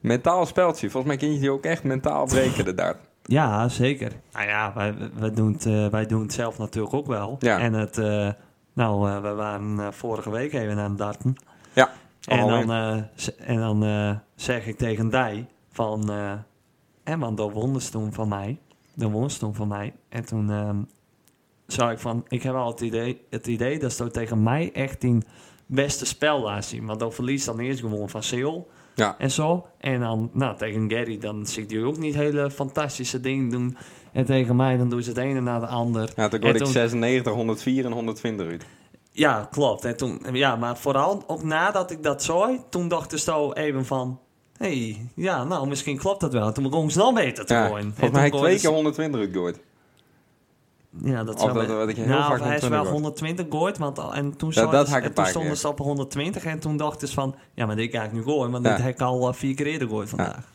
Speaker 1: Mentaal speltje. Volgens mij kun je die ook echt mentaal breken, de daad.
Speaker 2: Ja, zeker. Nou ja, wij, wij, doen het, eh, wij doen het zelf natuurlijk ook wel.
Speaker 1: Ja.
Speaker 2: En het, eh, nou, eh, we waren eh, vorige week even aan het darten.
Speaker 1: Ja,
Speaker 2: En
Speaker 1: alweer.
Speaker 2: dan, eh, z- en dan eh, zeg ik tegen Dij van... eh, en want dat won ze toen van mij. Dat won ze toen van mij. En toen ehm zei ik van... Ik heb al het idee, het idee dat ze tegen mij echt die beste spel laat zien. Want dan verliest dan eerst gewoon van Seoul.
Speaker 1: Ja.
Speaker 2: En zo. En dan nou, tegen Gary dan zie ik die ook niet hele fantastische dingen doen. En tegen mij dan doen ze het ene na de ander.
Speaker 1: Ja, toen
Speaker 2: En
Speaker 1: hoorde ik
Speaker 2: toen-
Speaker 1: 96, 104 en 120 uit.
Speaker 2: Ja, klopt. En toen, ja, maar vooral ook nadat ik dat zei, toen dacht ik zo even van... Hé, hey, ja, nou, misschien klopt dat wel. En Toen begon ze nog beter te
Speaker 1: Ja,
Speaker 2: gooien. En
Speaker 1: volgens
Speaker 2: toen
Speaker 1: mij heb ik
Speaker 2: gooide
Speaker 1: twee keer 120 uit gehoord.
Speaker 2: ze- Ja, dat
Speaker 1: Of
Speaker 2: zou
Speaker 1: dat-
Speaker 2: wel-
Speaker 1: dat ik heel
Speaker 2: nou,
Speaker 1: vaak
Speaker 2: hij is
Speaker 1: 120
Speaker 2: wel
Speaker 1: hoor.
Speaker 2: 120 gooit, want al- en toen,
Speaker 1: dat had
Speaker 2: zouden ze-
Speaker 1: ik een
Speaker 2: en toen
Speaker 1: paar
Speaker 2: stonden
Speaker 1: keer.
Speaker 2: ze op 120 en toen dachten ze van... Ja, maar dit ga ik nu gooien, want
Speaker 1: Ja.
Speaker 2: dit heb ik al eh, vier keer eerder gooien vandaag.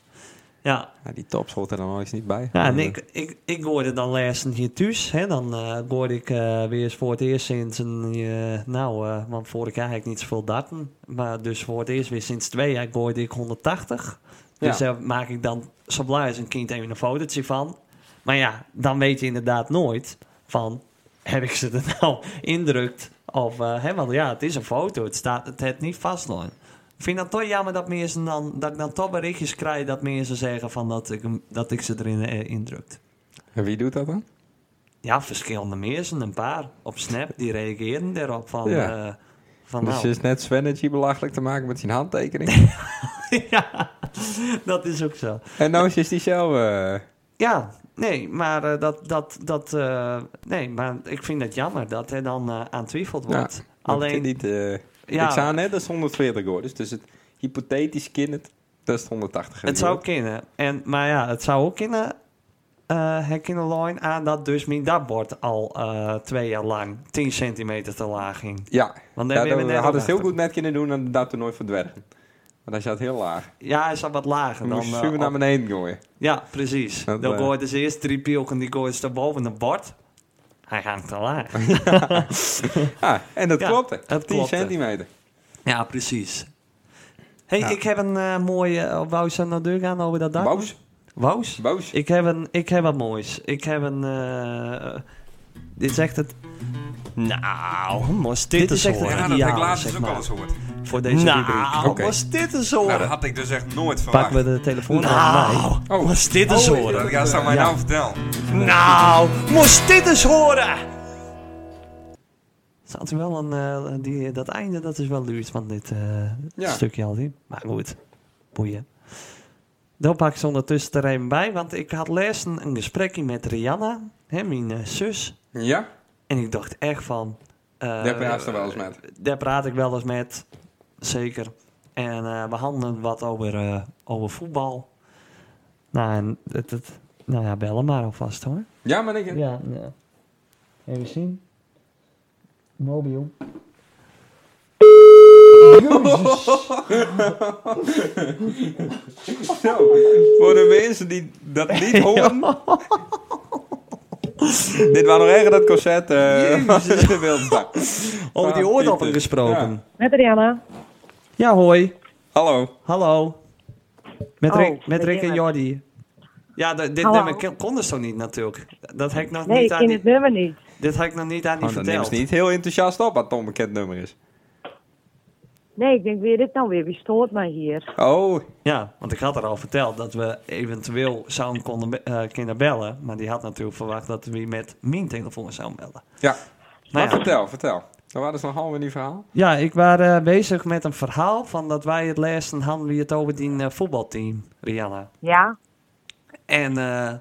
Speaker 2: Ja,
Speaker 1: Ja, die top schoot er dan nooit niet bij.
Speaker 2: Ja, en ik, ik, ik hoorde dan laatst hier thuis. Hè, dan eh hoorde ik eh, weer eens voor het eerst sinds een... eh, nou, eh, want vorig jaar had ik niet zoveel daten. Maar dus voor het eerst weer sinds twee jaar hoorde ik 180. Dus
Speaker 1: Ja.
Speaker 2: daar maak ik dan zo blij als een kind even een fotootje van. Maar ja, dan weet je inderdaad nooit van... Heb ik ze er nou indrukt? Of, eh, hè, want ja, het is een foto. Het staat het, het niet vastlopen. Ik vind dat toch jammer dat, mensen dan, dat ik dan toch berichtjes krijg dat mensen zeggen van dat, ik, hem- dat ik ze erin eh, indrukt.
Speaker 1: En wie doet dat dan?
Speaker 2: Ja, verschillende mensen, een paar op Snap, die reageren daarop van...
Speaker 1: Ja.
Speaker 2: eh, van
Speaker 1: dus
Speaker 2: nou,
Speaker 1: is net Svennergy belachelijk te maken met zijn handtekening.
Speaker 2: ja, dat is ook zo.
Speaker 1: en nou is die zelf... eh,
Speaker 2: Ja, nee, maar eh, dat, dat, dat, eh, nee, maar ik vind het jammer dat er dan eh, aan twijfeld
Speaker 1: Ja,
Speaker 2: wordt.
Speaker 1: dat
Speaker 2: Alleen,
Speaker 1: kan Niet, eh,
Speaker 2: ja,
Speaker 1: Ik zou net als 140 hoor. Dus, dus het hypothetisch kind, het- dat is het 180.
Speaker 2: het zou kunnen. En, maar ja, het zou ook kunnen eh herkennen line aan dat dus mijn dakbord al eh, twee jaar lang 10 centimeter te laag ging.
Speaker 1: Ja,
Speaker 2: Want daar
Speaker 1: ja
Speaker 2: hebben
Speaker 1: dat,
Speaker 2: we
Speaker 1: we
Speaker 2: net
Speaker 1: hadden
Speaker 2: al
Speaker 1: het heel
Speaker 2: achter.
Speaker 1: goed net kunnen doen aan dat toernooi van dwergen. Want hij zat heel laag.
Speaker 2: Ja, hij zat wat lager
Speaker 1: Dan
Speaker 2: dan...
Speaker 1: moest je
Speaker 2: eh,
Speaker 1: super
Speaker 2: op-
Speaker 1: naar beneden gooien.
Speaker 2: Ja, precies.
Speaker 1: Dat,
Speaker 2: dan
Speaker 1: eh,
Speaker 2: gooit dus eerst drie pielken, die gooit ze boven het bord. Hij hangt te laag.
Speaker 1: Ah, en dat
Speaker 2: Ja,
Speaker 1: klopte.
Speaker 2: het
Speaker 1: 10
Speaker 2: klopte.
Speaker 1: centimeter.
Speaker 2: Ja, precies. hey,
Speaker 1: Ja.
Speaker 2: ik heb een eh, mooie... Uh, wou je naar de deur gaan over dat dak?
Speaker 1: Boos,
Speaker 2: Wous?
Speaker 1: boos.
Speaker 2: Ik heb een... Ik heb wat moois. Ik heb een... eh, dit is echt het... Nou, moest dit,
Speaker 3: Dit
Speaker 2: eens
Speaker 3: is echt-
Speaker 2: horen.
Speaker 3: ja,
Speaker 4: dat heb ik laatst
Speaker 2: zeg
Speaker 4: dus ook
Speaker 2: maar.
Speaker 4: al eens gehoord.
Speaker 2: Voor deze rubriek.
Speaker 3: Nou,
Speaker 1: Oké.
Speaker 3: was dit een
Speaker 4: Nou, dat
Speaker 3: horen?
Speaker 4: had ik dus echt nooit verwacht.
Speaker 2: Pakken we de telefoon aan
Speaker 3: Nou,
Speaker 1: Oh.
Speaker 3: was dit eens
Speaker 1: Oh,
Speaker 3: horen?
Speaker 4: Dat ga ze aan mij
Speaker 2: Ja.
Speaker 4: nou vertellen.
Speaker 3: Nou, moest dit eens horen?
Speaker 2: staat er wel een, eh, die, dat einde, dat is wel duur van dit eh,
Speaker 1: Ja.
Speaker 2: stukje al in. Maar goed, boeien. Dan pak ik ze ondertussen er even bij, want ik had laatst een, een gesprekje met Rihanna, hè, mijn eh, zus.
Speaker 1: Ja?
Speaker 2: En ik dacht echt van... eh,
Speaker 1: Daar praat ze wel eens met.
Speaker 2: Daar praat ik wel eens met, zeker. En eh, we hadden wat over, eh, over voetbal. Nou, en het, het, nou ja, bellen maar alvast hoor.
Speaker 1: Ja, maar ik...
Speaker 2: Ja, ja. Even zien. Mobiel.
Speaker 1: Zo, Oh, nou. voor de mensen die dat niet horen... Dit was nog erger dat concert eh de wilde dag.
Speaker 2: Over Oh, die
Speaker 1: Ah,
Speaker 2: oordoppen
Speaker 1: Pieter. Ja.
Speaker 2: gesproken. Ja.
Speaker 3: Met Rihanna.
Speaker 2: hoi.
Speaker 1: Hallo.
Speaker 2: Hallo. Met,
Speaker 3: Oh,
Speaker 2: Rick, met
Speaker 3: met
Speaker 2: Rick en
Speaker 3: Jelle.
Speaker 2: Jordi. Ja, d- dit
Speaker 3: Hallo.
Speaker 2: nummer kon- konden ze toch niet natuurlijk. Dat heb ik nog
Speaker 3: Nee,
Speaker 2: niet
Speaker 3: ik
Speaker 2: aan
Speaker 3: ken
Speaker 2: die,
Speaker 3: het nummer niet.
Speaker 2: Dit heb ik nog niet aan die
Speaker 1: Oh, dat neemt
Speaker 2: verteld.
Speaker 1: ze niet heel enthousiast op wat het onbekend nummer is.
Speaker 3: Nee, ik denk, wie is dit nou weer? Wie stoort mij hier?
Speaker 1: Oh,
Speaker 2: Ja, want ik had er al verteld dat we eventueel zouden konden be- eh, kunnen bellen. Maar die had natuurlijk verwacht dat we met mijn telefoon zouden bellen.
Speaker 1: ja. Maar
Speaker 2: Nou ja.
Speaker 1: vertel, vertel. Dan waren ze nog half in die verhaal.
Speaker 2: Ja, ik was eh, bezig met een verhaal van dat wij het laatste hadden we het over die eh, voetbalteam, Rihanna.
Speaker 3: Ja?
Speaker 2: En, eh,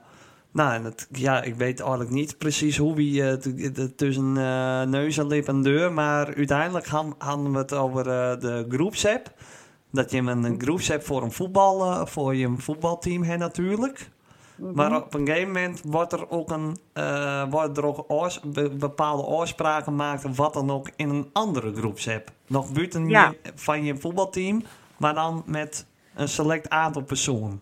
Speaker 2: nou, en het, ja, ik weet eigenlijk niet precies hoe we eh, t- t- tussen eh, neus en lip en deur, maar uiteindelijk ham- hadden we het over eh, de groepsapp. Dat je een groepsapp voor een, voetbal, eh, voor je voetbalteam hebt natuurlijk. Maar op een gegeven moment wordt er ook een, eh wordt er ook oors- be- bepaalde oorspraken gemaakt, of wat dan ook, in een andere groepsapp. Nog buiten
Speaker 3: Ja.
Speaker 2: je- van je voetbalteam, maar dan met een select aantal personen.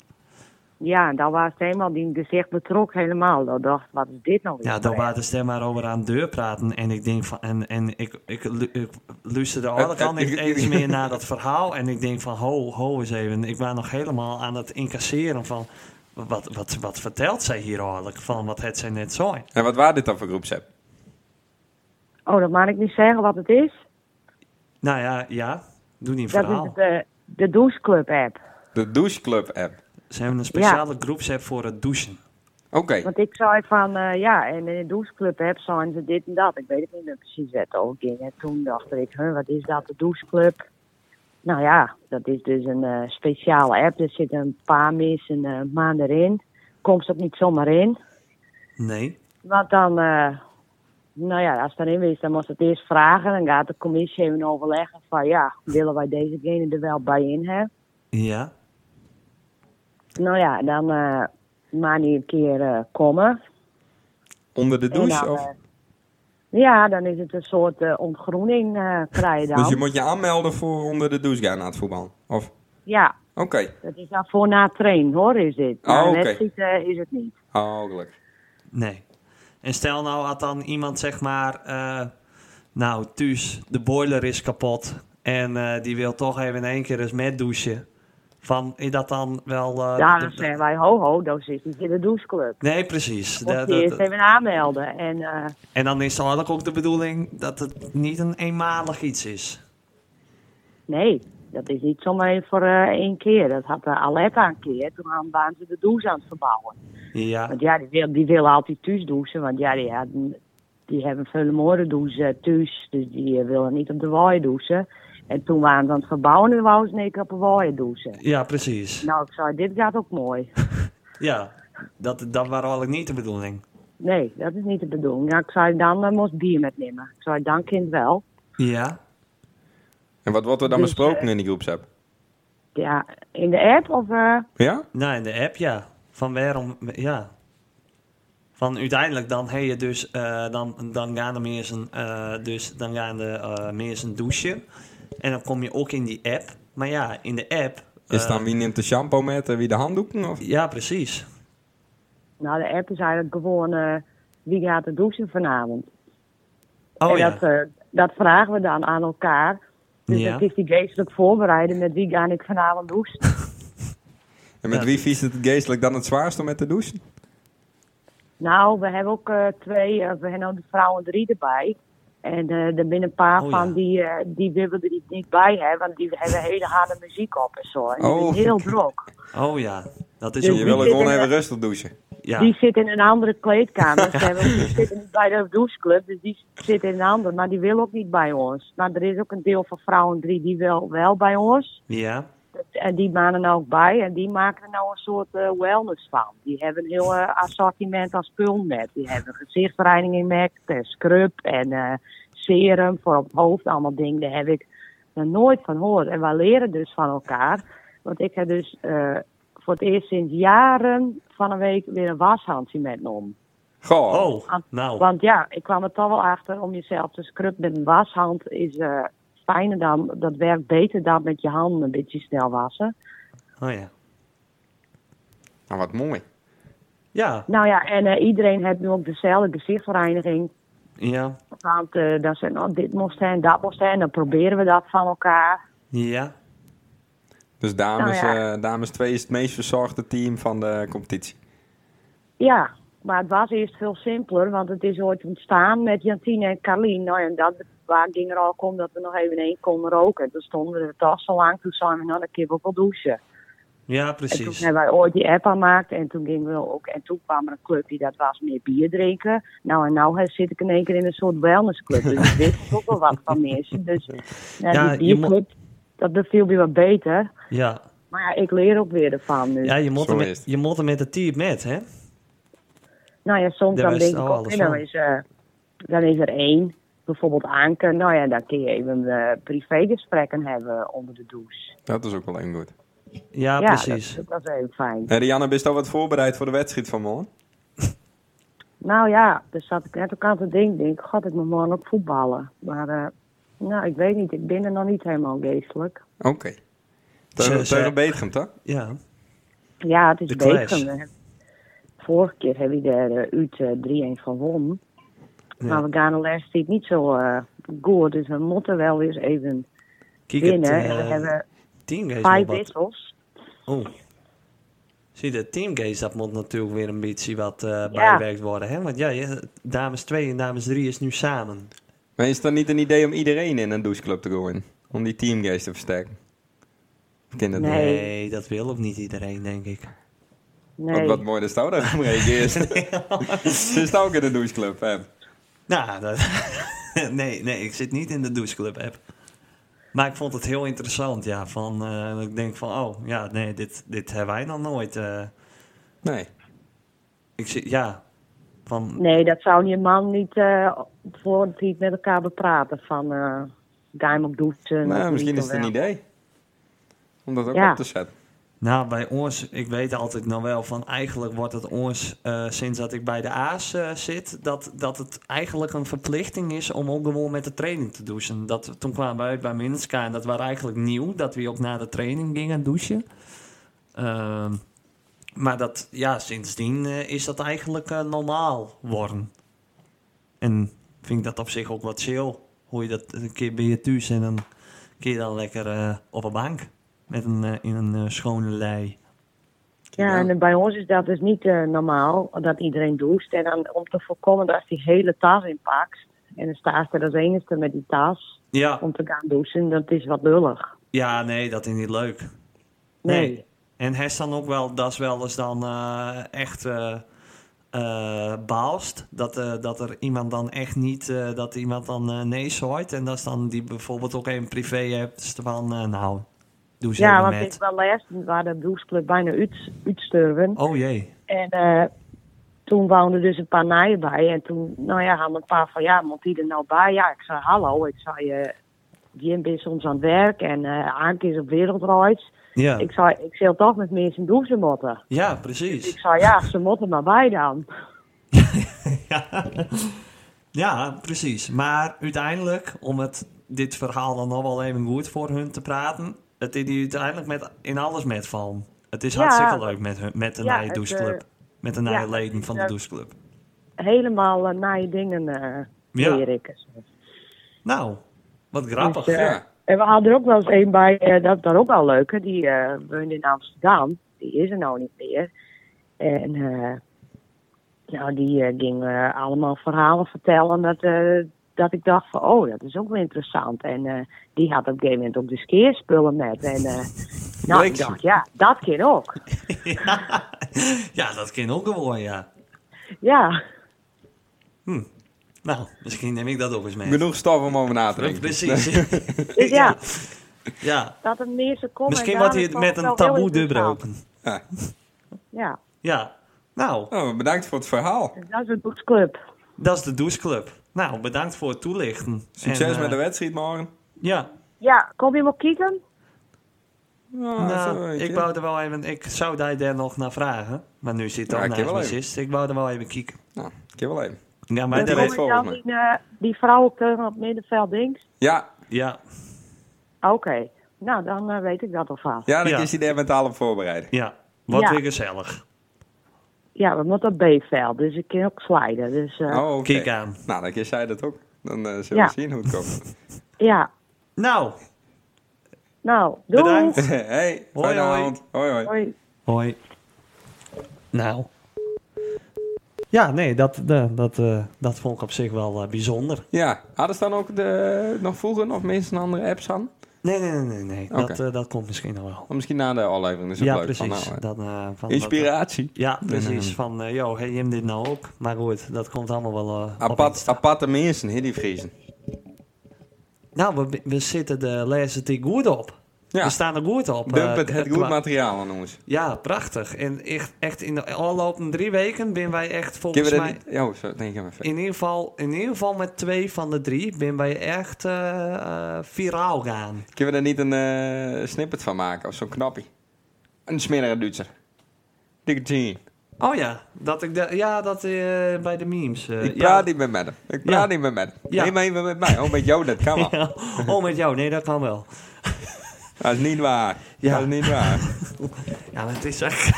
Speaker 3: Ja, en dan was het helemaal die gezicht betrok helemaal. Dan dacht ik, wat is dit nou weer?
Speaker 2: Ja, dan
Speaker 3: voor
Speaker 2: waren ze er maar over aan de deur praten. En ik denk van. En, en ik, ik, lu- ik luisterde eigenlijk al niet eens meer naar dat verhaal. En ik denk van. Ho, ho eens even. Ik was nog helemaal aan het incasseren van. Wat, wat, wat vertelt zij hier eigenlijk? Van wat het zij net zei.
Speaker 1: En wat waren dit dan voor groepsapp?
Speaker 3: echt? Oh, dat mag ik niet zeggen wat het is.
Speaker 2: Nou ja, ja. Doe niet een
Speaker 3: Dat is
Speaker 2: verhaal.
Speaker 3: de, de doucheclub app.
Speaker 1: De Douche Club app.
Speaker 2: Ze hebben een speciale groepsapp voor het douchen.
Speaker 1: Oké.
Speaker 3: Want ik zei van, eh, ja, en in de doucheclub app zijn ze dit en dat. Ik weet het niet meer precies wat het ook ging. En toen dacht ik, huh, wat is dat, de doucheclub? Nou ja, dat is dus een eh, speciale app. Er zitten een paar mensen eh maanden in. Komt ze ook niet zomaar in.
Speaker 2: Nee.
Speaker 3: Want dan, eh, nou ja, als het erin is, dan moest het eerst vragen. Dan gaat de commissie even overleggen van, ja, willen wij dezegene er wel bij in hebben?
Speaker 2: Ja.
Speaker 3: Nou ja, dan eh maar niet een keer eh, komen.
Speaker 1: Onder de
Speaker 3: En
Speaker 1: douche?
Speaker 3: dan,
Speaker 1: Of?
Speaker 3: eh, ja, dan is het een soort eh, ontgroening eh krijg je dan.
Speaker 1: Dus je moet je aanmelden voor onder de douche gaan na het voetbal? Of?
Speaker 3: Ja,
Speaker 1: Oké.
Speaker 3: dat is dan voor na train hoor, is dit.
Speaker 1: Ah,
Speaker 3: Na een
Speaker 1: oké.
Speaker 3: wedstrijd eh, is het niet.
Speaker 1: Oh, gelukkig.
Speaker 2: Nee. En stel nou had dan iemand zeg maar, eh, nou thuis, de boiler is kapot en eh, die wil toch even in één keer eens met douchen. Van, is dat dan wel... eh,
Speaker 3: ja,
Speaker 2: de-
Speaker 3: dan
Speaker 2: de-
Speaker 3: zeggen wij, ho ho, dat zit niet in de doucheclub.
Speaker 2: nee, precies.
Speaker 3: Moet
Speaker 2: Dat-
Speaker 3: je
Speaker 2: dat-
Speaker 3: eerst even aanmelden. En eh,
Speaker 2: en dan is het eigenlijk ook de bedoeling dat het niet een eenmalig iets is.
Speaker 3: nee, dat is niet zomaar even voor eh, één keer. Dat had uh, Aletta een keer. Toen aan- waren ze de douche aan het verbouwen.
Speaker 2: Ja,
Speaker 3: Want ja, die wil, die wil altijd thuis douchen. Want ja, die, hadden- die hebben veel mooie douchen thuis. Dus die eh, willen niet op de waai douchen. En toen waren ze aan het verbouwen en wouden ze in één keer op de waai douchen.
Speaker 2: ja precies.
Speaker 3: Nou, ik zei, dit gaat ook mooi.
Speaker 2: Ja, dat, dat was eigenlijk niet de bedoeling.
Speaker 3: Nee, dat is niet de bedoeling. Nou, ik zei, dan eh, moest bier metnemen. Ik zei, dan kind wel.
Speaker 2: Ja,
Speaker 1: En wat wordt er dan
Speaker 3: Dus,
Speaker 1: besproken in die groepsapp?
Speaker 3: Ja, in de app of... eh,
Speaker 1: Ja?
Speaker 2: Nou, in de app, ja. Van waarom, ja. Van uiteindelijk dan heb je dus, eh, dan, dan gaan de mensen, eh, dus dan gaan de eh, mensen douchen. En dan kom je ook in die app. Maar ja, in de app.
Speaker 1: Is
Speaker 2: eh,
Speaker 1: het dan wie neemt de shampoo met en wie de handdoeken? Of?
Speaker 2: Ja, precies.
Speaker 3: nou, de app is eigenlijk gewoon... eh, wie gaat er douchen vanavond?
Speaker 2: Oh
Speaker 3: en
Speaker 2: ja.
Speaker 3: dat, eh, dat vragen we dan aan elkaar. Dus
Speaker 2: Ja.
Speaker 3: dat is die geestelijk voorbereiden. Met wie ga ik vanavond douchen?
Speaker 1: En met
Speaker 2: Ja.
Speaker 1: wie vies het geestelijk dan het zwaarst om met te douchen?
Speaker 3: Nou, we hebben ook eh, twee, eh, we hebben ook de vrouwen drie erbij. En eh er zijn een paar
Speaker 2: Oh,
Speaker 3: van
Speaker 2: ja.
Speaker 3: die, eh, die willen er niet- niet bij hebben, want die hebben hele harde muziek op en zo. En het
Speaker 1: Oh.
Speaker 3: is heel druk.
Speaker 2: Oh ja. Dat is
Speaker 3: Dus
Speaker 2: ook
Speaker 1: Je wil
Speaker 3: wie
Speaker 1: gewoon
Speaker 3: zit er-
Speaker 1: even rustig douchen.
Speaker 2: ja.
Speaker 3: Die zit in een andere kleedkamer. Ze hebben- die zitten niet bij de doucheclub, dus die zit in een andere. Maar die wil ook niet bij ons. Maar er is ook een deel van vrouwen 3 die wel, wel bij ons.
Speaker 2: ja.
Speaker 3: En die manen ook bij. En die maken er nou een soort eh, wellness van. Die hebben een heel eh, assortiment aan spul met. Die hebben gezichtsreiniging met, eh, scrub en eh, serum voor op het hoofd. Allemaal dingen, daar heb ik nog nooit van gehoord. En wij leren dus van elkaar. Want ik heb dus eh, voor het eerst sinds jaren van een week weer een washandje met me om.
Speaker 1: Goh.
Speaker 2: Oh, nou.
Speaker 3: Want ja, ik kwam er toch wel achter om jezelf te scrubben met een washand is eh, fijner dan, dat werkt beter dan met je handen een beetje snel wassen.
Speaker 2: Oh ja.
Speaker 1: Nou, wat mooi.
Speaker 2: Ja,
Speaker 3: Nou ja, en eh, iedereen heeft nu ook dezelfde gezichtsreiniging.
Speaker 2: ja,
Speaker 3: Want eh dan zijn, oh, dit moest zijn, dat moest zijn. Dan proberen we dat van elkaar.
Speaker 2: ja.
Speaker 1: Dus dames,
Speaker 3: Nou ja.
Speaker 1: eh, dames 2 is het meest verzorgde team van de competitie.
Speaker 3: Ja, maar het was eerst veel simpeler. Want het is ooit ontstaan met Jantine en Carlien. Nou ja, en dat waar ging er al om dat we nog even één konden roken. Toen stonden we er toch zo lang. Toen zeiden we, nou, dan kunnen we ook wel douchen.
Speaker 2: Ja,
Speaker 3: En toen
Speaker 2: precies.
Speaker 3: hebben wij ooit die app aanmaakt en toen gingen we ook. En toen kwam er een club die dat was meer bier drinken. Nou en nou hè, zit ik in één keer in een soort wellnessclub. Dus ik wist er ook wel wat van mensen. Dus ja,
Speaker 2: Ja, je
Speaker 3: die bierclub, dat beviel me wat beter.
Speaker 2: Ja,
Speaker 3: Maar ja, ik leer ook weer ervan dus. nu.
Speaker 2: ja je, moet er
Speaker 1: Zo is
Speaker 2: met,
Speaker 1: het.
Speaker 2: je moet er met de team met, hè?
Speaker 3: nou ja, soms
Speaker 2: Daar
Speaker 3: dan
Speaker 2: wist
Speaker 3: denk ik
Speaker 2: al
Speaker 3: ook,
Speaker 2: alles
Speaker 3: hé, dan
Speaker 2: van.
Speaker 3: is, eh, dan is er één. Bijvoorbeeld Anke. Nou ja, dan kun je even eh privégesprekken hebben onder de douche.
Speaker 1: Dat is ook wel een goed.
Speaker 2: Ja,
Speaker 3: ja,
Speaker 2: precies.
Speaker 3: Dat, dat is heel fijn.
Speaker 1: Hey, Rianne, ben je al wat voorbereid voor de wedstrijd van morgen?
Speaker 3: Nou ja, dus zat ik net ook aan te denken. Denk, ik, god, ik moet morgen ook voetballen. Maar eh, nou, ik weet niet. Ik ben er nog niet helemaal geestelijk.
Speaker 1: Oké. Teuren
Speaker 2: Ze- ze-
Speaker 1: Teuren Betegem, toch?
Speaker 2: Ja,
Speaker 3: Ja, het is
Speaker 2: De clash.
Speaker 3: beter. Vorige keer hebben we er eh, uit eh, 3-1 gewonnen.
Speaker 2: Ja.
Speaker 3: Maar we gaan de laatste tijd niet zo eh goed. Dus we moeten wel weer even
Speaker 2: kijk het
Speaker 3: winnen. en we
Speaker 2: eh,
Speaker 3: hebben
Speaker 2: teamgeest
Speaker 3: vijf
Speaker 2: moet wat-
Speaker 3: wissels.
Speaker 2: Oh. Zie je, de teamgeest, dat moet natuurlijk weer een beetje wat eh, bijgewerkt worden, hè? Want ja, je- dames 2 en dames 3 is nu samen.
Speaker 1: Maar is het dan niet een idee om iedereen in een doucheclub te gooien? Om die teamgeest te versterken? Of kan dat
Speaker 3: Nee.
Speaker 1: niet?
Speaker 2: dat wil ook niet iedereen, denk ik.
Speaker 1: Wat,
Speaker 3: Nee.
Speaker 1: wat mooi dat Stouw daarom reageert. Ze is ook in de doucheclub, hè?
Speaker 2: Nou, dat... nee, nee, ik zit niet in de doucheclub app. Maar ik vond het heel interessant, ja. Van, eh, ik denk van, oh, ja, nee, dit, dit hebben wij dan nooit. eh.
Speaker 1: Nee.
Speaker 2: ik zit, ja, van,
Speaker 3: nee, dat zou je man niet eh voor het niet met elkaar bepraten. Van, eh ga hem op douchen.
Speaker 1: Nou,
Speaker 3: of
Speaker 1: misschien
Speaker 3: niet,
Speaker 1: is
Speaker 3: of
Speaker 1: het een
Speaker 3: wel.
Speaker 1: idee. Om dat ook
Speaker 3: Ja.
Speaker 1: op te zetten.
Speaker 2: Nou, bij ons, ik weet altijd nog wel van eigenlijk wordt het ons eh, sinds dat ik bij de A's eh, zit, dat, dat het eigenlijk een verplichting is om ook gewoon met de training te douchen. Dat, toen kwamen we uit bij Minska en dat was eigenlijk nieuw, dat we ook na de training gingen douchen. Ehm, maar dat, ja, sindsdien eh, is dat eigenlijk eh, normaal worden. En vind ik dat op zich ook wat chill. Hoe je dat een keer bij je thuis en dan kun je dan lekker eh, op een bank met een, eh, in een eh, schone lei.
Speaker 3: Ja,
Speaker 1: Ja.
Speaker 3: en bij ons is dat dus niet eh, normaal dat iedereen doucht. En dan om te voorkomen dat die hele tas inpakt. En dan staat ze er als enige met die tas
Speaker 2: Ja,
Speaker 3: om te gaan douchen. Dat is wat lullig.
Speaker 2: ja nee, dat is niet leuk.
Speaker 3: Nee.
Speaker 2: En hij is dan ook wel, dat is wel eens dan eh, echt eh eh, baalst. Dat, eh, dat er iemand dan echt niet, eh, dat iemand dan eh, nee zooit. En dat is dan die bijvoorbeeld ook een privé hebt van, eh, nou, doe ze
Speaker 3: Ja,
Speaker 2: even
Speaker 3: want
Speaker 2: met.
Speaker 3: ik wel laatst waar de doucheclub bijna uit, uitsturven.
Speaker 2: Oh jee.
Speaker 3: En eh, toen woonden dus een paar naaien bij. En toen, nou ja, hadden een paar van, ja, moet die er nou bij? Ja, ik zei, hallo. Ik zei, eh, Jim is soms aan het werk en eh Anke is op wereldreis.
Speaker 2: Ja,
Speaker 3: Ik zei, ik zal toch met mensen douchen moeten.
Speaker 2: ja
Speaker 3: Ik
Speaker 2: precies.
Speaker 3: zei, ja, ze moeten maar bij dan.
Speaker 2: Ja, precies. Maar uiteindelijk, om het, dit verhaal dan nog wel even goed voor hun te praten, het is die uiteindelijk met, in alles met van. Het is
Speaker 3: Ja.
Speaker 2: hartstikke leuk met, hun, met de
Speaker 3: Ja,
Speaker 2: Nije
Speaker 3: het,
Speaker 2: Doucheclub.
Speaker 3: eh,
Speaker 2: met de Nije
Speaker 3: ja, het
Speaker 2: leden
Speaker 3: is,
Speaker 2: van de
Speaker 3: eh,
Speaker 2: Doucheclub.
Speaker 3: Helemaal eh, naar je dingen eh
Speaker 2: Ja.
Speaker 3: leer ik. eens.
Speaker 2: Nou, wat grappig.
Speaker 3: Dus, eh,
Speaker 1: Ja.
Speaker 3: En we hadden er ook wel eens een bij, eh, dat was ook wel leuk. hè. Die eh woonde in Amsterdam. Die is er nou niet meer. En eh, nou, die eh, ging eh, allemaal verhalen vertellen dat, eh, dat ik dacht van, oh, dat is ook wel interessant. En eh, die had op een gegeven moment ook de skeerspullen met. En eh, nou,
Speaker 1: Leuk.
Speaker 3: ik dacht, ja, dat kan ook.
Speaker 2: Ja, ja, dat kan ook gewoon, ja.
Speaker 3: Ja,
Speaker 2: Hm. Nou, misschien neem ik dat ook eens mee.
Speaker 1: Genoeg stof om over na te denken.
Speaker 2: Precies.
Speaker 3: dus ja,
Speaker 2: ja.
Speaker 3: dat er meer ze komen.
Speaker 2: Misschien
Speaker 3: ja,
Speaker 2: wordt hij
Speaker 3: Oh dat
Speaker 2: het
Speaker 3: vond
Speaker 2: met
Speaker 3: ik
Speaker 2: een
Speaker 3: wel heel
Speaker 2: taboe
Speaker 3: interessant.
Speaker 2: doorbroken.
Speaker 1: Ja.
Speaker 3: Ja,
Speaker 2: Ja. Nou,
Speaker 1: Nou, bedankt voor het verhaal.
Speaker 3: dus dat is een boeksclub.
Speaker 2: dat is de doucheclub. Nou, bedankt voor het toelichten. eh,
Speaker 1: Succes met de wedstrijd morgen.
Speaker 2: Ja,
Speaker 3: Ja, kom je maar kijken?
Speaker 1: Nou, zo,
Speaker 2: nou,
Speaker 1: weet
Speaker 2: ik
Speaker 1: je.
Speaker 2: wou er wel even... Ik zou daar daar nog naar vragen. Maar nu zit
Speaker 1: Ja,
Speaker 2: dat
Speaker 1: ik
Speaker 2: naast
Speaker 1: wel
Speaker 2: mijn
Speaker 1: even.
Speaker 2: zus. Ik wou er wel even kijken.
Speaker 1: Nou, ik heb wel even.
Speaker 2: Ja, maar
Speaker 1: Dat
Speaker 2: daar
Speaker 1: komt-
Speaker 2: is-
Speaker 1: weet volgens mij.
Speaker 3: die, eh, die vrouwenkeuken op middenveld links?
Speaker 1: Ja,
Speaker 2: Ja,
Speaker 3: Oké, nou dan eh, weet ik dat alvast.
Speaker 1: ja dan
Speaker 2: Ja.
Speaker 1: is hij daar mentaal op voorbereid.
Speaker 2: ja. Wat
Speaker 3: Ja.
Speaker 2: weer gezellig.
Speaker 3: Ja, we moeten op B-veld, dus ik kan ook sliden. Dus eh,
Speaker 1: Oh, oké.
Speaker 2: Kijk aan.
Speaker 1: Nou, dan keer zij dat ook. Dan eh, zullen we
Speaker 3: Ja.
Speaker 1: zien hoe het komt.
Speaker 3: ja,
Speaker 2: Nou,
Speaker 3: nou, doei!
Speaker 2: bedankt.
Speaker 1: hey,
Speaker 2: Hoi,
Speaker 1: fijne
Speaker 2: hoi.
Speaker 1: avond. Hoi, hoi.
Speaker 3: Hoi.
Speaker 2: Hoi. Nou. Ja, nee, dat, de, dat, eh, dat vond ik op zich wel eh, bijzonder.
Speaker 1: Ja, hadden ze dan ook de, nog vroeger nog mensen een andere apps aan?
Speaker 2: Nee, nee, nee, nee. nee. Dat,
Speaker 1: Oké.
Speaker 2: eh, dat komt misschien nog wel.
Speaker 1: Of misschien na de aflevering is het
Speaker 2: Ja,
Speaker 1: leuk.
Speaker 2: precies.
Speaker 1: Van, nou, eh,
Speaker 2: Dan, eh, van dat-
Speaker 1: inspiratie.
Speaker 2: ja, precies.
Speaker 1: ehm,
Speaker 2: van, eh joh, hey, je hem dit nou ook? Maar goed, dat komt allemaal wel eh, op
Speaker 1: Apart,
Speaker 2: Insta.
Speaker 1: aparte mensen, hè, die Vriezen.
Speaker 2: Nou, we, we zitten de lezer die goed op.
Speaker 1: Ja,
Speaker 2: We staan er goed op.
Speaker 1: dump
Speaker 2: eh,
Speaker 1: het, het
Speaker 2: qua-
Speaker 1: goed materiaal aan ons.
Speaker 2: Ja, prachtig. En echt, echt in de afgelopen drie weken ben wij echt
Speaker 1: Kunnen
Speaker 2: volgens
Speaker 1: we dat
Speaker 2: mij...
Speaker 1: niet... Ja, zo, denk ik hem even.
Speaker 2: In ieder, geval, in ieder geval met twee van de drie ben wij echt eh, eh, viraal gaan.
Speaker 1: Kunnen we daar niet een eh, snippet van maken? Of zo'n knappie? Een smerige Duitser. Dikke Jean.
Speaker 2: Oh ja, dat ik de, ja, dat eh, bij de memes. eh,
Speaker 1: Ik praat
Speaker 2: ja.
Speaker 1: niet meer met hem. Ik
Speaker 2: Ja.
Speaker 1: praat niet meer met hem.
Speaker 2: Ja.
Speaker 1: Neem even met mij. Oh, met jou, dat kan wel.
Speaker 2: Ja. Oh, met jou. Nee, dat kan wel.
Speaker 1: Dat is niet waar.
Speaker 2: Ja.
Speaker 1: Dat is niet waar.
Speaker 2: Ja, maar het is echt...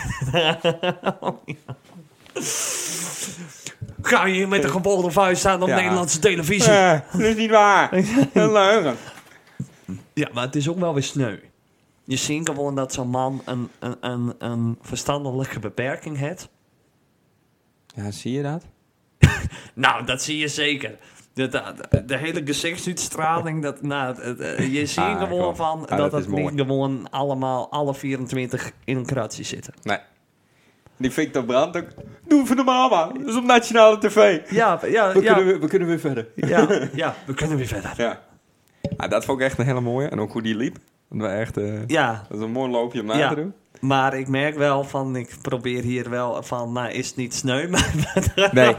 Speaker 2: Oh, ja. Ga je hier met een gebogen vuist staan op
Speaker 1: Ja.
Speaker 2: Nederlandse televisie?
Speaker 1: Eh, dat is niet waar. Dat is een leugen.
Speaker 2: Ja, maar het is ook wel weer sneu. Je ziet gewoon dat zo'n man een, een, een, een verstandelijke beperking heeft.
Speaker 1: Ja, zie je dat?
Speaker 2: Nou, dat zie je zeker. De, de, de- de hele gezichtsuitstraling, dat, nou, het- het, eh, je ziet
Speaker 1: Ah,
Speaker 2: gewoon
Speaker 1: kom. Ah,
Speaker 2: van dat,
Speaker 1: dat is
Speaker 2: het niet
Speaker 1: mooi.
Speaker 2: gewoon allemaal, alle 24 in een kratje zitten.
Speaker 1: Nee. Die Victor Brandt ook. Doe even normaal, man. Dat is op nationale tv.
Speaker 2: Ja, ja,
Speaker 1: We,
Speaker 2: ja,
Speaker 1: kunnen, weer, we kunnen weer verder.
Speaker 2: ja, ja, we kunnen weer verder.
Speaker 1: Ja. Ah, dat vond ik echt een hele mooie. En ook hoe die liep. Dat, was echt, eh,
Speaker 2: Ja,
Speaker 1: dat is een mooi loopje om na
Speaker 2: Ja.
Speaker 1: te doen.
Speaker 2: maar ik merk wel van, ik probeer hier wel van, nou is het niet sneu, maar...
Speaker 1: Nee.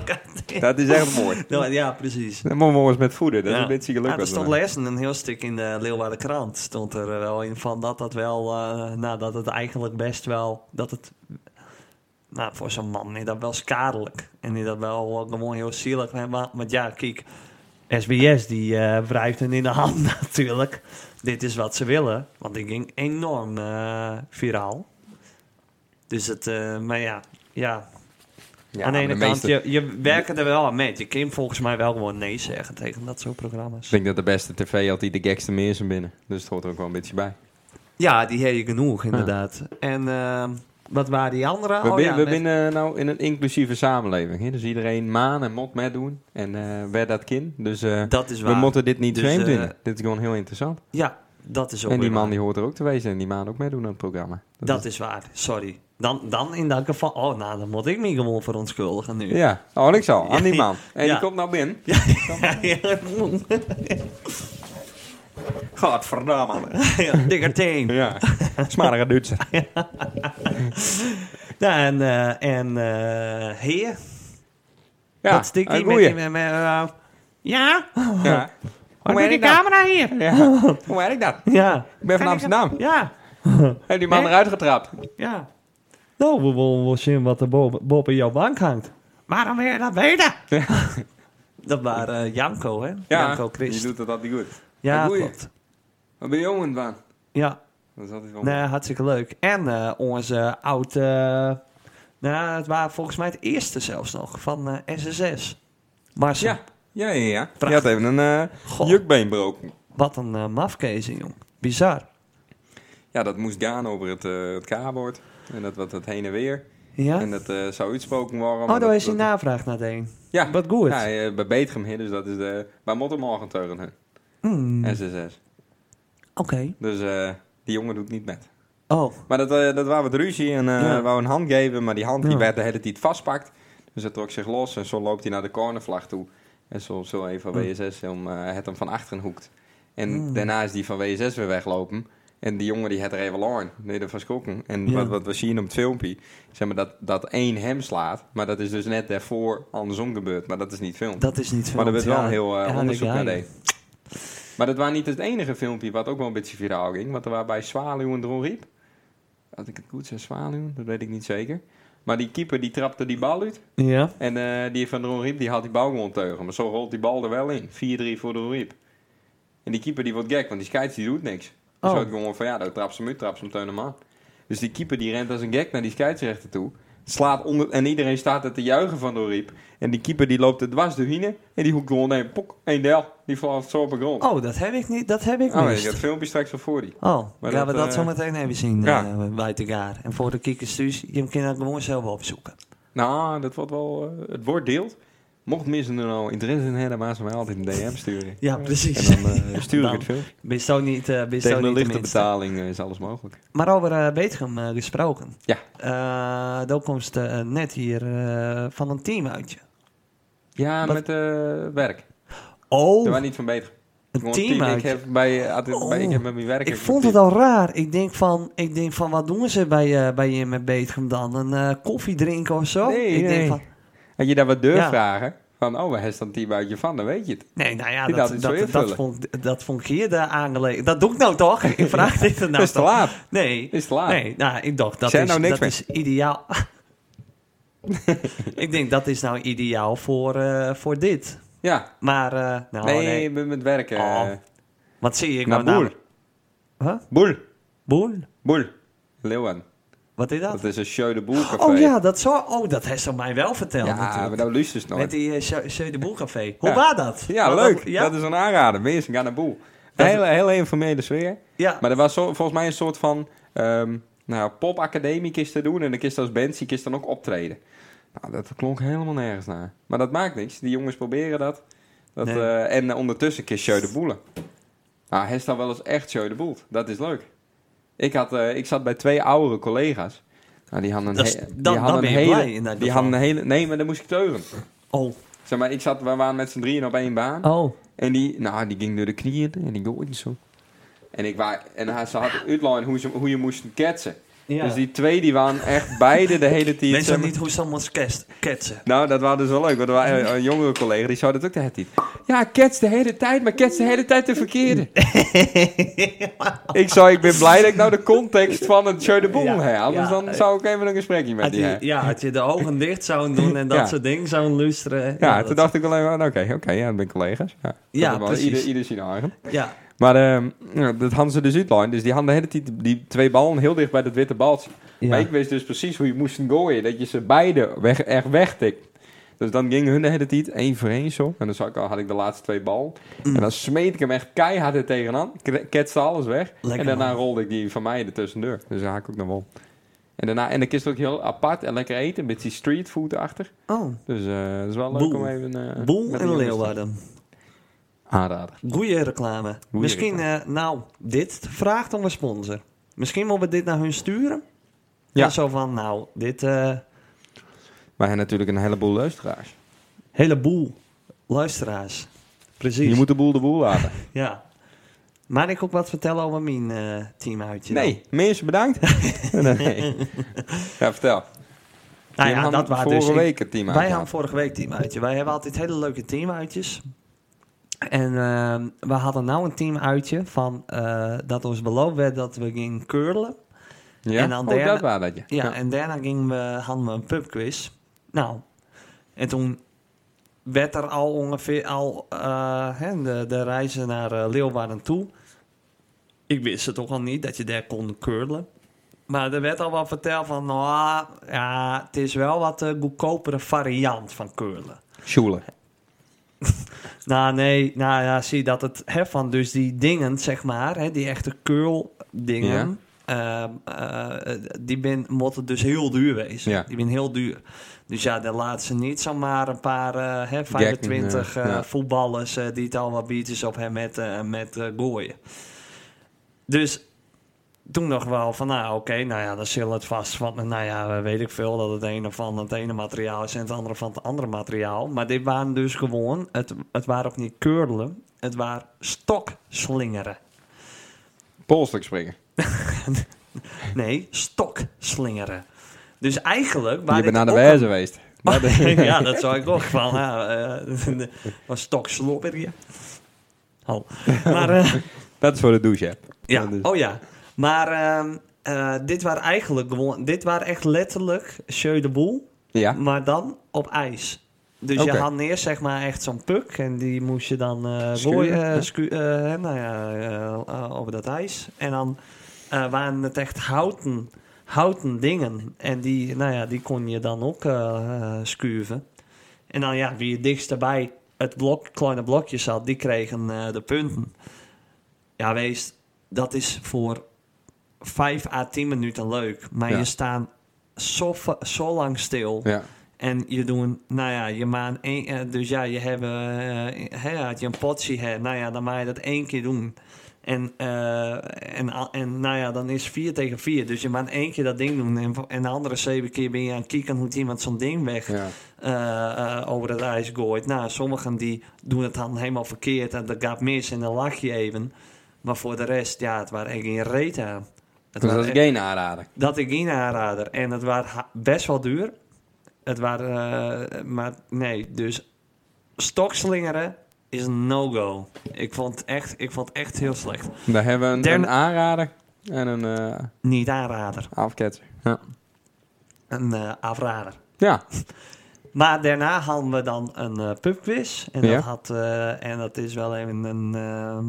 Speaker 1: Dat is echt mooi.
Speaker 2: Nou, ja, precies.
Speaker 1: Dan moeten we eens met voeden. Dat
Speaker 2: ja.
Speaker 1: is een beetje
Speaker 2: Ja, er
Speaker 1: gelukkig.
Speaker 2: stond lezen een heel stuk in de Leeuwarden krant. Stond er eh, wel in van dat dat wel, eh, nou dat het eigenlijk best wel, dat het, nou voor zo'n man is dat wel skadelijk. En is dat wel eh, gewoon heel zielig. hè, Maar, maar ja, kijk, SBS die eh wrijft hen in de hand natuurlijk. Dit is wat ze willen, want die ging enorm eh, viraal. Dus het, eh, maar ja, ja.
Speaker 1: Ja,
Speaker 2: aan de
Speaker 1: maar
Speaker 2: ene
Speaker 1: de
Speaker 2: kant,
Speaker 1: meeste-
Speaker 2: je, je werkt er wel aan mee. Je kan volgens mij wel gewoon nee zeggen tegen dat soort programma's.
Speaker 1: Ik denk dat de beste tv altijd de gekste mensen binnen. Dus het hoort er ook wel een beetje bij.
Speaker 2: Ja, die heb je genoeg, inderdaad. En ehm, wat waren die anderen?
Speaker 1: we
Speaker 2: Oh
Speaker 1: bin-
Speaker 2: ja,
Speaker 1: we
Speaker 2: met-
Speaker 1: binnen nou in een inclusieve samenleving. Hè? Dus iedereen maan en mot met doen. En eh wij dat kind. Dus eh,
Speaker 2: Dat is
Speaker 1: we
Speaker 2: waar.
Speaker 1: moeten dit niet
Speaker 2: Dus,
Speaker 1: vreemd
Speaker 2: eh,
Speaker 1: vinden. Dit is gewoon heel interessant.
Speaker 2: Ja, dat is ook
Speaker 1: En die
Speaker 2: weer
Speaker 1: man
Speaker 2: waar.
Speaker 1: die hoort er ook te wezen. En die maan ook meedoen aan het programma.
Speaker 2: Dat is waar, sorry. Dan, dan in dat geval... Oh, nou, dan moet ik me gewoon verontschuldigen nu.
Speaker 1: Ja, oh, niks al. Aan die man. En
Speaker 2: Ja.
Speaker 1: die komt nou binnen. Godverdamme.
Speaker 2: Ja, Dikker teen.
Speaker 1: Ja, smarige Duitser.
Speaker 2: Ja, en... eh en eh heer,
Speaker 1: Ja,
Speaker 2: wat stikt
Speaker 1: een
Speaker 2: die met
Speaker 1: goeie.
Speaker 2: die... Met, met- eh, ja?
Speaker 1: Ja.
Speaker 2: Waar
Speaker 1: Hoe
Speaker 2: doet Oh, die
Speaker 1: werkt dat?
Speaker 2: camera hier?
Speaker 1: Ja. Hoe werkt dat?
Speaker 2: Ja,
Speaker 1: Ik ben van Amsterdam.
Speaker 2: ja,
Speaker 1: Heb die man
Speaker 2: Nee.
Speaker 1: eruit getrapt?
Speaker 2: ja. Nou, we willen wel zien wat er boven, boven jouw bank hangt. Maar dan wil je dat weten. Dat waren eh, Janko, hè? Janko
Speaker 1: die
Speaker 2: Christ.
Speaker 1: doet het altijd goed.
Speaker 2: ja,
Speaker 1: een goeie.
Speaker 2: klopt.
Speaker 1: Wat ben je jongen van?
Speaker 2: Ja,
Speaker 1: Dat is altijd wel...
Speaker 2: nee, hartstikke leuk. En eh, onze oud... eh, nou, het waren volgens mij het eerste zelfs nog van eh, SSS. Marcel,
Speaker 1: Ja, ja, ja. ja. Je
Speaker 2: Prachtig.
Speaker 1: had even een
Speaker 2: Goh.
Speaker 1: eh jukbeen broken.
Speaker 2: wat een eh, mafkezen, jong. Bizar.
Speaker 1: Ja, dat moest gaan over het, eh het K-woord. En dat wat het heen en weer.
Speaker 2: Ja?
Speaker 1: En dat eh, zou uitspoken worden. maar
Speaker 2: oh, daar
Speaker 1: dat-
Speaker 2: is een
Speaker 1: dat-
Speaker 2: navraag naar Deen.
Speaker 1: Ja.
Speaker 2: Wat goed.
Speaker 1: Ja, eh, bij Beetgem hier, dus dat is de... Bij Mottermorgen teuren,
Speaker 2: Hmm,
Speaker 1: SSS.
Speaker 2: Oké.
Speaker 1: Dus eh, die jongen doet niet met.
Speaker 2: Oh,
Speaker 1: Maar dat, eh dat was wat ruzie en eh
Speaker 2: Ja.
Speaker 1: wou een hand geven, maar die hand die
Speaker 2: Ja.
Speaker 1: werd de hele tijd vastpakt. Dus hij trok zich los en zo loopt hij naar de cornervlag toe. En zo, zo een van
Speaker 2: Hmm.
Speaker 1: WSS hem, eh, het hem van achteren hoekt. En
Speaker 2: Hmm.
Speaker 1: daarna is die van WSS weer weglopen. En die jongen die had er even lang, nee, dat was koken. En
Speaker 2: Ja.
Speaker 1: wat, wat we zien op het filmpje, zeg maar dat, dat één hem slaat. Maar dat is dus net daarvoor andersom gebeurd, maar dat is niet film.
Speaker 2: dat is niet veel.
Speaker 1: Maar er werd wel een heel eh,
Speaker 2: ja,
Speaker 1: onderzoek
Speaker 2: dat-
Speaker 1: naar
Speaker 2: ja.
Speaker 1: deed. Maar dat was niet het enige filmpje wat ook wel een beetje viraal ging. Want er waren bij Zwaluwen erom riep. Had ik het goed zijn, Zwaluwen? Dat weet ik niet zeker. Maar die keeper die trapte die bal uit.
Speaker 2: Ja.
Speaker 1: En eh, die van Dron Riep die had die bal gewoon teugen. Maar zo rolt die bal er wel in. 4-3 voor Dron Riep. En die keeper die wordt gek, want die scheids die doet niks. Dus
Speaker 2: Oh.
Speaker 1: ook gewoon van ja, dat trapt ze hem uit, trapt ze hem teunen man. Dus die keeper die rent als een gek naar die scheidsrechter toe. Slaat onder, en iedereen staat er te juichen van Dron Riep. En die keeper die loopt er dwars doorheen. En die hoekt gewoon een pok, één del. Die valt zo op de grond.
Speaker 2: Oh, dat heb ik niet. Dat heb ik
Speaker 1: Oh,
Speaker 2: niet.
Speaker 1: ik dat filmpje straks wel voor die.
Speaker 2: Oh,
Speaker 1: Maar
Speaker 2: gaan we
Speaker 1: dat,
Speaker 2: dat
Speaker 1: eh,
Speaker 2: zo meteen even zien
Speaker 1: ja.
Speaker 2: eh, bij elkaar. En voor de kiekers thuis, je kan dat gewoon zelf opzoeken.
Speaker 1: Nou, dat wordt wel, eh, het wordt deelt. Mocht mensen er nou interesse in hebben, maar ze mij altijd een DM sturen.
Speaker 2: Ja, precies.
Speaker 1: En dan eh, stuur ik
Speaker 2: Dan-
Speaker 1: het filmpje.
Speaker 2: Ben je ook niet, eh ben je
Speaker 1: Tegen
Speaker 2: ook
Speaker 1: een
Speaker 2: niet de
Speaker 1: lichte
Speaker 2: minste.
Speaker 1: betaling eh, is alles mogelijk.
Speaker 2: Maar over eh Betegem eh, gesproken.
Speaker 1: Ja.
Speaker 2: Eh, daar komt eh, net hier eh, van een team uitje.
Speaker 1: Ja,
Speaker 2: Wat-
Speaker 1: met eh, werk. Daar
Speaker 2: Oh,
Speaker 1: was niet van beter.
Speaker 2: een
Speaker 1: Gewoon
Speaker 2: team
Speaker 1: Ik
Speaker 2: uitje.
Speaker 1: heb, bij, eh, altijd, bij, ik
Speaker 2: Oh.
Speaker 1: heb met mijn werk...
Speaker 2: Ik vond het
Speaker 1: al.
Speaker 2: al raar. Ik denk van, ik denk van wat doen ze bij, eh bij je met Betegem dan? Een eh, koffie drinken of zo?
Speaker 1: Nee,
Speaker 2: ik denk
Speaker 1: nee.
Speaker 2: Van,
Speaker 1: Had je daar wat deur
Speaker 2: Ja.
Speaker 1: vragen? Van, oh, waar is dan team uitje van? Dan weet je het.
Speaker 2: nee, nou ja,
Speaker 1: Die
Speaker 2: dat,
Speaker 1: laat
Speaker 2: dat,
Speaker 1: het zo
Speaker 2: dat,
Speaker 1: invullen.
Speaker 2: vond, dat vond ik hier de aangelegen. Dat doe ik nou toch? Ik vraag dit er nou
Speaker 1: Het is te
Speaker 2: toch?
Speaker 1: laat.
Speaker 2: Nee,
Speaker 1: Is te laat.
Speaker 2: nee nou, ik dacht dat,
Speaker 1: Zeg
Speaker 2: is,
Speaker 1: Ah. nou niks
Speaker 2: dat
Speaker 1: meer.
Speaker 2: is ideaal. ik denk dat is nou ideaal voor, eh, voor dit.
Speaker 1: Ja.
Speaker 2: Maar, eh, nou
Speaker 1: nee,
Speaker 2: nee.
Speaker 1: met, met werk. eh
Speaker 2: Oh, Wat zie ik
Speaker 1: naar
Speaker 2: nou
Speaker 1: Boel.
Speaker 2: namelijk? Huh?
Speaker 1: Boel.
Speaker 2: Boel?
Speaker 1: Boel. Leeuwen.
Speaker 2: Wat is dat?
Speaker 1: Dat is een show de boel café.
Speaker 2: Oh ja, dat zo. Oh, dat heeft ze mij wel verteld
Speaker 1: Ja,
Speaker 2: natuurlijk.
Speaker 1: maar dat luistert nooit.
Speaker 2: Met die eh, Sjeu- Sjeu de Boel Café. Hoe
Speaker 1: Ja.
Speaker 2: was dat?
Speaker 1: Ja,
Speaker 2: Was
Speaker 1: leuk.
Speaker 2: Dat, ja?
Speaker 1: Dat is een aanrader. Mensen gaan naar boel.
Speaker 2: Dat-
Speaker 1: Een hele, hele informele sfeer.
Speaker 2: ja.
Speaker 1: Maar er was zo- volgens mij een soort van ehm nou, popacademie kist te doen. En dan kist als band, die kist dan ook optreden. Nou, dat klonk helemaal nergens naar. Maar dat maakt niks. Die jongens proberen dat. dat
Speaker 2: Nee.
Speaker 1: eh, en eh, ondertussen kist Show de Boelen. Nou, hij is dan wel eens echt Show de Boel. Dat is leuk. Ik, had, eh, ik zat bij twee oudere collega's. Nou, die hadden een,
Speaker 2: Dat is-
Speaker 1: he-
Speaker 2: dan-
Speaker 1: die
Speaker 2: dan
Speaker 1: hadden
Speaker 2: ben
Speaker 1: een
Speaker 2: je
Speaker 1: hele...
Speaker 2: blij in dat
Speaker 1: die
Speaker 2: geval.
Speaker 1: hadden een hele... Nee, maar dan moest ik teuren.
Speaker 2: Oh.
Speaker 1: Zeg maar, ik zat, we waren met z'n drieën op één baan.
Speaker 2: Oh.
Speaker 1: En die, nou, die ging door de knieën en die gooide zo. En, ik wa- en hij, ze had uitleggen hoe, ze- hoe je moest ketsen.
Speaker 2: Ja.
Speaker 1: Dus die twee die waren echt beide de hele tijd...
Speaker 2: Mensen
Speaker 1: zeg maar-
Speaker 2: niet hoe ze allemaal sketsen- ketsen.
Speaker 1: Nou, dat was dus wel leuk, want er was een, een jongere collega die zou dat ook de hele tijd. Ja, kets de hele tijd, maar kets de hele tijd de verkeerde. ik, zou, ik ben blij dat ik nou de context van het show de boel
Speaker 2: Ja,
Speaker 1: heb. Anders
Speaker 2: ja,
Speaker 1: dan
Speaker 2: eh,
Speaker 1: zou ik even een gesprekje met
Speaker 2: Had
Speaker 1: die
Speaker 2: je,
Speaker 1: hebben.
Speaker 2: ja, had je de ogen dicht zou doen en dat
Speaker 1: Ja.
Speaker 2: soort dingen zou luisteren.
Speaker 1: Ja,
Speaker 2: dat-
Speaker 1: toen dacht ik alleen maar, nou, oké, oké, ja, dat ben collega's. Ja,
Speaker 2: Ja,
Speaker 1: Dat wel
Speaker 2: precies.
Speaker 1: Ieder, ieder zijn eigen.
Speaker 2: Ja.
Speaker 1: Maar ehm, ja, dat hadden ze dus uitline. Dus die hadden de hele tijd die twee ballen heel dicht bij dat witte baltje.
Speaker 2: Ja.
Speaker 1: Maar ik wist dus precies hoe je moest gooien. Dat je ze beide weg, echt wegtikt. Dus dan gingen hun de hele tijd één voor één zo. En dan zag ik al, had ik de laatste twee bal.
Speaker 2: Mm.
Speaker 1: En dan smeet ik hem echt keihard er tegenaan. Kre- Ketste alles weg.
Speaker 2: Lekker,
Speaker 1: en daarna
Speaker 2: man.
Speaker 1: rolde ik die van mij er tussendoor. Dus daar haak ik ook nog wel. En daarna, en dan is het ook heel apart en lekker eten. Een beetje streetfood achter.
Speaker 2: Oh,
Speaker 1: Dus eh, het is wel leuk
Speaker 2: Boel.
Speaker 1: om even... eh, met
Speaker 2: Boel
Speaker 1: die
Speaker 2: en
Speaker 1: jongens te-
Speaker 2: Leeuwarden.
Speaker 1: Aanrader.
Speaker 2: Goeie reclame. Misschien, eh, nou, dit vraagt om een sponsor. Misschien moeten we dit naar hun sturen.
Speaker 1: Ja.
Speaker 2: En zo van, nou, dit eh
Speaker 1: Maar hij natuurlijk een heleboel luisteraars.
Speaker 2: heleboel luisteraars. Precies.
Speaker 1: Je moet de boel de boel laten.
Speaker 2: Ja. Maar ik ook wat vertellen over mijn eh team uitje. dan?
Speaker 1: Nee, mensen bedankt. nee. Ja, vertel.
Speaker 2: Nou
Speaker 1: Jullie
Speaker 2: ja,
Speaker 1: hadden
Speaker 2: dat waren
Speaker 1: vorige
Speaker 2: dus. ik-
Speaker 1: week het team
Speaker 2: Wij
Speaker 1: uitgehaald.
Speaker 2: hadden vorige week teamuitje. Wij hebben altijd hele leuke teamuitjes. En ehm, we hadden nou een teamuitje van eh, dat ons beloofd werd dat we gingen curlen.
Speaker 1: Ja?
Speaker 2: En dan
Speaker 1: oh,
Speaker 2: derde-
Speaker 1: dat waren dat, ja.
Speaker 2: Ja, en daarna gingen we, hadden we een pubquiz. Nou, en toen werd er al ongeveer al eh, hè, de, de reizen naar eh, Leeuwarden toe. Ik wist het ook al niet dat je daar kon curlen. Maar er werd al wat verteld van, nou ja, het is wel wat eh goedkopere variant van curlen.
Speaker 1: Sjoelen.
Speaker 2: Nou, nee, nou ja, zie dat het hè, van dus die dingen, zeg maar, hè, die echte curl dingen, ehm, eh, die ben, moeten dus heel duur wezen.
Speaker 1: Ja.
Speaker 2: Die zijn heel duur. Dus ja, daar laten ze niet zomaar een paar eh, hè, 25
Speaker 1: Gekken, eh,
Speaker 2: eh,
Speaker 1: ja.
Speaker 2: voetballers eh, die het allemaal biertjes op hem met, eh, met eh, gooien. Dus toen nog wel van, nou oké, nou ja, dan zullen het vast. Want nou ja, weet ik veel dat het ene van het ene materiaal is en het andere van het andere materiaal. Maar dit waren dus gewoon, het, het waren ook niet keurlen, het waren stokslingeren.
Speaker 1: Polstuk springen.
Speaker 2: Nee, stokslingeren. Dus eigenlijk... waar
Speaker 1: Je
Speaker 2: dit
Speaker 1: bent naar de
Speaker 2: ook
Speaker 1: wijze geweest.
Speaker 2: Maar- ja, dat zou ik nog van. Nou, eh, was stok slobber hier. Oh. Maar, eh,
Speaker 1: Dat is voor de douche app.
Speaker 2: ja,
Speaker 1: Dat is-
Speaker 2: oh ja. Maar ehm, eh, dit waren eigenlijk gewoon, dit waren echt letterlijk Jeu de Boel,
Speaker 1: ja.
Speaker 2: maar dan op ijs. Dus
Speaker 1: Oké.
Speaker 2: je had neer, zeg maar, echt zo'n puk en die moest je dan eh
Speaker 1: Schuren,
Speaker 2: gooien, eh,
Speaker 1: ja.
Speaker 2: schu- eh, hè, nou ja, eh, eh, over dat ijs. En dan eh, waren het echt houten, houten dingen. En die, nou ja, die kon je dan ook eh eh, schuiven. En dan ja, wie het dichtst bij het blok, kleine blokje zat, die kregen eh, de punten. Ja, wees, dat is voor 5 à 10 minuten leuk. Maar
Speaker 1: Ja.
Speaker 2: je staat zo, va- zo lang stil.
Speaker 1: ja.
Speaker 2: En je doen, nou ja, je maakt één, eh, dus ja, je hebt, eh hè, had je een potje, hè, nou ja, dan mag je dat één keer doen. En, eh, en, al- en nou ja, dan is vier tegen vier. Dus je maakt één keer dat ding doen. En, vo- en de andere zeven keer ben je aan het kijken hoe iemand zo'n ding weg
Speaker 1: Ja.
Speaker 2: eh, eh, over het ijs gooit. Nou, sommigen die doen het dan helemaal verkeerd en dat gaat mis en dan lach je even. Maar voor de rest, ja, het waren echt geen reet aan.
Speaker 1: Dus
Speaker 2: Het waren
Speaker 1: dat is geen aanrader.
Speaker 2: dat ik geen aanrader. En het waren ha- best wel duur. Het waren, eh, maar nee, dus stokslingeren is een no-go. Ik vond het echt, ik vond het echt heel slecht.
Speaker 1: Daar hebben we een,
Speaker 2: Derde-
Speaker 1: een aanrader en een eh,
Speaker 2: Niet aanrader,
Speaker 1: afketser. Ja.
Speaker 2: een eh, afrader.
Speaker 1: ja.
Speaker 2: Maar daarna hadden we dan een eh, pubquiz. En,
Speaker 1: Ja.
Speaker 2: dat had, eh, en dat is wel even een ehm,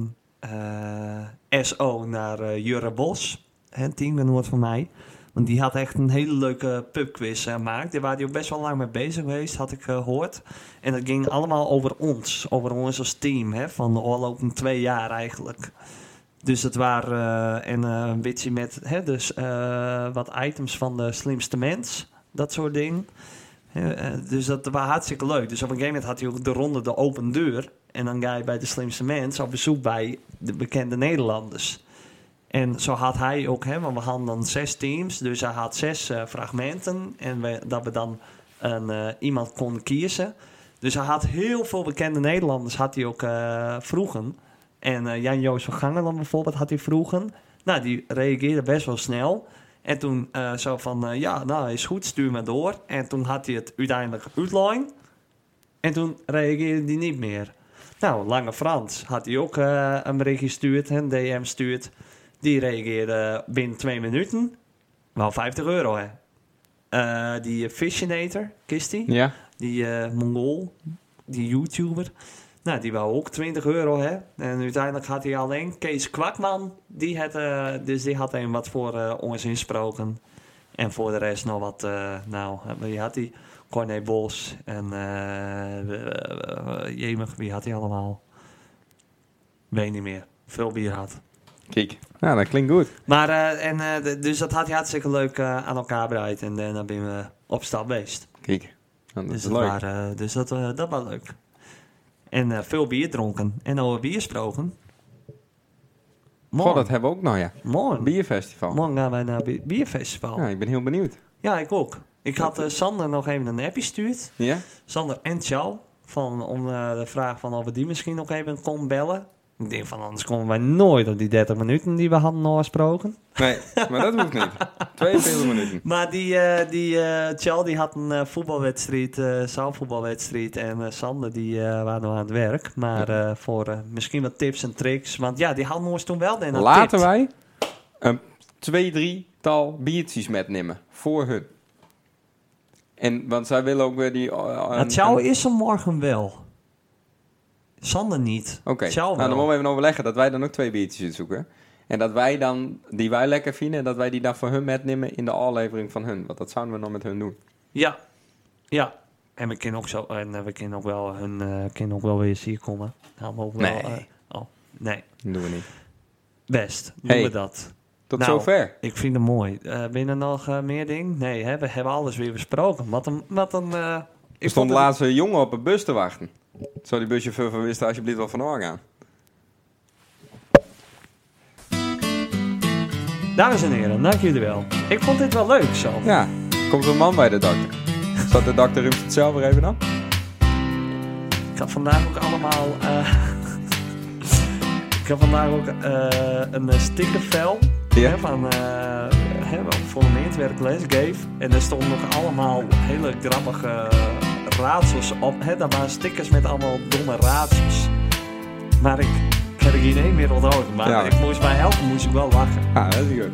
Speaker 2: eh, SO naar eh Jurre Bos. Hè, teamgenoot van mij. Want die had echt een hele leuke pubquiz eh, gemaakt. Daar waren die ook best wel lang mee bezig geweest, had ik eh, gehoord. En dat ging allemaal over ons. Over ons als team. Hè, van de oorlopen twee jaar eigenlijk. Dus het waren eh, en, eh, een beetje met hè, dus, eh, wat items van de slimste mens. Dat soort dingen. Ja, eh, dus dat was hartstikke leuk. Dus op een gegeven moment had hij ook de ronde de open deur. En dan ga je bij de slimste mens op bezoek bij de bekende Nederlanders. En zo had hij ook, hè, want we hadden dan zes teams. Dus hij had zes eh, fragmenten. En we, dat we dan een, eh, iemand konden kiezen. Dus hij had heel veel bekende Nederlanders had hij ook eh, vroegen. En eh, Jan-Joos van Gangeland bijvoorbeeld had hij vroegen. Nou, die reageerde best wel snel. En toen eh, zo van, eh, ja, nou is goed, stuur maar door. En toen had hij het uiteindelijk uitline. En toen reageerde hij niet meer. Nou, Lange Frans had hij ook eh, een bericht gestuurd, een DM stuurd. Die reageerde binnen twee minuten. Wel 50 euro, hè. Eh, die Fishinator, kist die?
Speaker 1: ja.
Speaker 2: Die eh, Mongool, die YouTuber. Nou, die wou ook 20 euro, hè. En uiteindelijk had hij alleen Kees Kwakman. Die had, eh, dus die had hem wat voor eh, ons insproken. En voor de rest nog wat, eh, nou, eh, wie had hij? Corné Bos en, eh eh, eh, jemig, wie had hij allemaal? Weet niet meer. Veel bier had.
Speaker 1: Kijk. Nou, dat klinkt goed.
Speaker 2: Maar, eh, en, eh, d- dus dat had hij hartstikke leuk eh, aan elkaar bereid. En daarna ben we op stap geweest.
Speaker 1: Kijk. Nou, dat
Speaker 2: Dus
Speaker 1: is
Speaker 2: dat,
Speaker 1: leuk.
Speaker 2: waren, dus dat, eh, dat was leuk. En eh, veel bier dronken. En over bier gesproken.
Speaker 1: Goh,
Speaker 2: Morgen,
Speaker 1: dat hebben we ook nog, ja.
Speaker 2: morgen,
Speaker 1: Bierfestival.
Speaker 2: morgen gaan wij naar bi- bierfestival.
Speaker 1: Ja,
Speaker 2: Ja.
Speaker 1: ik ben heel benieuwd.
Speaker 2: ik ook. Ik had eh, Sander nog even een appje gestuurd.
Speaker 1: Ja?
Speaker 2: Sander en Tjal. Van, om eh, de vraag van of we die misschien nog even kon bellen. Ik denk van anders komen wij nooit op die 30 minuten die we hadden afgesproken.
Speaker 1: Nee, maar dat hoeft niet. 42 minuten.
Speaker 2: Maar die, eh, die eh, Tjal die had een eh, voetbalwedstrijd, eh zaalvoetbalwedstrijd. En eh, Sander die eh, waren nog aan het werk. Maar eh, voor eh, misschien wat tips en tricks. Want ja, die hadden ons toen wel daarna
Speaker 1: Laten
Speaker 2: tipt.
Speaker 1: wij een Ehm, twee, drie tal biertjes metnemen voor hun. En, want zij willen ook weer die... eh,
Speaker 2: Maar
Speaker 1: een-
Speaker 2: Tjal
Speaker 1: een-
Speaker 2: is er morgen wel. Sander niet.
Speaker 1: Oké,
Speaker 2: Tjal
Speaker 1: nou, dan
Speaker 2: wel.
Speaker 1: moeten we even overleggen dat wij dan ook twee biertjes zoeken. En dat wij dan, die wij lekker vinden, dat wij die dan voor hun metnemen in de aflevering van hun. Want dat zouden we dan met hun doen.
Speaker 2: Ja. Ja. En we kunnen ook, zo, en, eh, we kunnen ook, wel, hun, eh kunnen ook wel weer eens hier komen. Gaan we ook wel,
Speaker 1: Nee.
Speaker 2: eh, oh, nee.
Speaker 1: Dat doen we niet.
Speaker 2: Best. Doen
Speaker 1: Hey.
Speaker 2: we dat.
Speaker 1: Tot
Speaker 2: Nou,
Speaker 1: zover.
Speaker 2: Ik vind het mooi. Eh binnen nog eh, meer ding? Nee, hè, we hebben alles weer besproken. Wat een. Wat een eh,
Speaker 1: Er
Speaker 2: ik
Speaker 1: stond
Speaker 2: vond het-
Speaker 1: laatst een jongen op een bus te wachten. Zou die buschauffeur van wisten alsjeblieft wel van gaan.
Speaker 2: Dames en heren, dank jullie wel. Ik vond dit wel leuk zo.
Speaker 1: Ja, komt een man bij de dokter. Zat de dokter Rums het zelf weer even dan?
Speaker 2: Ik had vandaag ook allemaal. eh, ik had vandaag ook eh, een eh, stickervel.
Speaker 1: Ja.
Speaker 2: Hè, van. eh hè, wat voor een meertwerk lesgeef. En er stonden nog allemaal hele grappige raadsels op. Hè, daar waren stickers met allemaal domme raadsels. Maar ik heb er geen één meer onthouden. Maar
Speaker 1: Ja.
Speaker 2: ik moest bij helpen, moest ik wel lachen.
Speaker 1: Ja, dat is goed.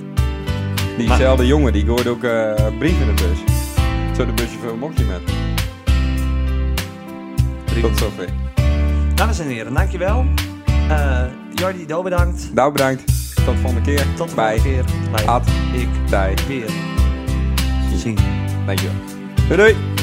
Speaker 1: Diezelfde jongen, die hoorde ook eh brief in de bus. Zo de busje veel mokje met. Tot zover.
Speaker 2: Dames en heren, dankjewel. Eh Jordi, Do bedankt.
Speaker 1: Nou, bedankt. Tot volgende keer.
Speaker 2: Tot de
Speaker 1: Bij
Speaker 2: volgende keer. Bij
Speaker 1: Ad
Speaker 2: Ik
Speaker 1: Tij.
Speaker 2: weer zien.
Speaker 1: Dankjewel. Doei doei.